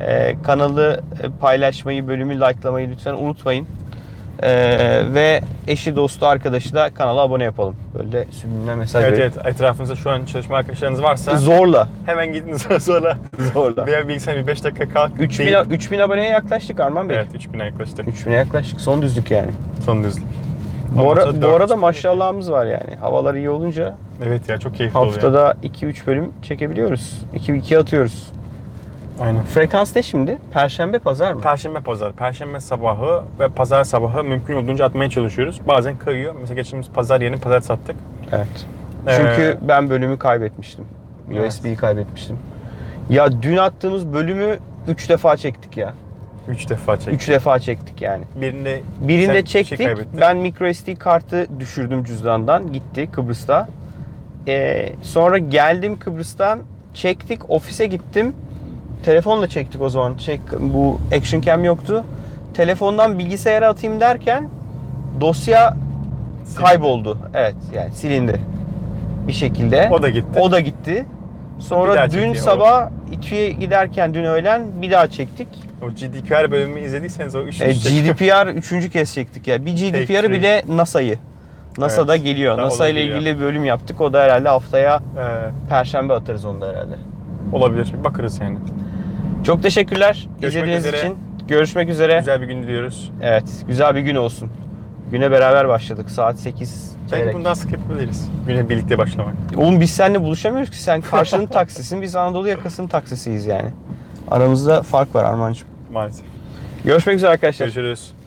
[SPEAKER 1] Ee, kanalı e, paylaşmayı, bölümü likelamayı lütfen unutmayın. Ee, ve eşi, dostu, arkadaşı da kanala abone yapalım. Böyle sübliminal mesaj
[SPEAKER 2] Evet
[SPEAKER 1] verip-
[SPEAKER 2] evet etrafınızda şu an çalışma arkadaşlarınız varsa
[SPEAKER 1] Zorla.
[SPEAKER 2] hemen gidin sonra sonra
[SPEAKER 1] Zorla.
[SPEAKER 2] veya bilgisayar bir 5 dakika kalk.
[SPEAKER 1] 3000,
[SPEAKER 2] değil.
[SPEAKER 1] 3000 aboneye yaklaştık Arman Bey.
[SPEAKER 2] Evet 3000'e yaklaştık.
[SPEAKER 1] 3000'e yaklaştık. Son düzlük yani.
[SPEAKER 2] Son düzlük.
[SPEAKER 1] Bu, ara-
[SPEAKER 2] Ondan sonra
[SPEAKER 1] bu
[SPEAKER 2] dört-
[SPEAKER 1] arada maşallahımız var yani. Havalar iyi olunca
[SPEAKER 2] Evet ya çok keyifli oluyor.
[SPEAKER 1] haftada 2-3 bölüm çekebiliyoruz. 2-2 atıyoruz.
[SPEAKER 2] Aynen.
[SPEAKER 1] Frekans ne şimdi? Perşembe, pazar mı?
[SPEAKER 2] Perşembe pazar. Perşembe sabahı ve pazar sabahı mümkün olduğunca atmaya çalışıyoruz. Bazen kayıyor. Mesela geçtiğimiz pazar yerine pazar sattık.
[SPEAKER 1] Evet.
[SPEAKER 2] Ee,
[SPEAKER 1] Çünkü ben bölümü kaybetmiştim. USB'yi kaybetmiştim. Ya dün attığımız bölümü 3 defa çektik ya.
[SPEAKER 2] 3 defa çektik.
[SPEAKER 1] 3 defa çektik yani.
[SPEAKER 2] Birinde
[SPEAKER 1] Birinde
[SPEAKER 2] sen
[SPEAKER 1] çektik.
[SPEAKER 2] Şey kaybettin.
[SPEAKER 1] ben micro SD kartı düşürdüm cüzdandan. Gitti Kıbrıs'ta. Ee, sonra geldim Kıbrıs'tan. Çektik. Ofise gittim. Telefonla çektik o zaman. Çek, bu action cam yoktu. Telefondan bilgisayara atayım derken dosya
[SPEAKER 2] Silindi.
[SPEAKER 1] kayboldu. Evet yani silindi. Bir şekilde.
[SPEAKER 2] O da gitti.
[SPEAKER 1] O da gitti.
[SPEAKER 2] Bir
[SPEAKER 1] Sonra
[SPEAKER 2] daha
[SPEAKER 1] dün
[SPEAKER 2] çekti, o-
[SPEAKER 1] sabah İTÜ'ye giderken dün öğlen bir daha çektik.
[SPEAKER 2] O GDPR bölümü izlediyseniz o 3.
[SPEAKER 1] E, GDPR üçüncü kez çektik ya. Bir GDPR'ı
[SPEAKER 2] Peki.
[SPEAKER 1] bir de NASA'yı. NASA'da
[SPEAKER 2] Evet.
[SPEAKER 1] geliyor.
[SPEAKER 2] Daha
[SPEAKER 1] NASA ile
[SPEAKER 2] olabilir ya.
[SPEAKER 1] ilgili bölüm yaptık. O da herhalde haftaya perşembe atarız onu da herhalde.
[SPEAKER 2] Ee, olabilir. Bir Bakarız yani.
[SPEAKER 1] Çok teşekkürler
[SPEAKER 2] Görüşmek
[SPEAKER 1] izlediğiniz
[SPEAKER 2] üzere.
[SPEAKER 1] için. Görüşmek üzere.
[SPEAKER 2] Güzel bir gün diliyoruz.
[SPEAKER 1] Evet, güzel bir gün olsun. Güne beraber başladık saat 8.
[SPEAKER 2] Belki
[SPEAKER 1] çeyrek.
[SPEAKER 2] bundan sık yapabiliriz. Güne birlikte başlamak.
[SPEAKER 1] Oğlum biz seninle buluşamıyoruz ki. Sen karşının taksisin, biz Anadolu yakasının taksisiyiz yani. Aramızda fark var Armancığım.
[SPEAKER 2] Maalesef.
[SPEAKER 1] Görüşmek üzere arkadaşlar.
[SPEAKER 2] Görüşürüz.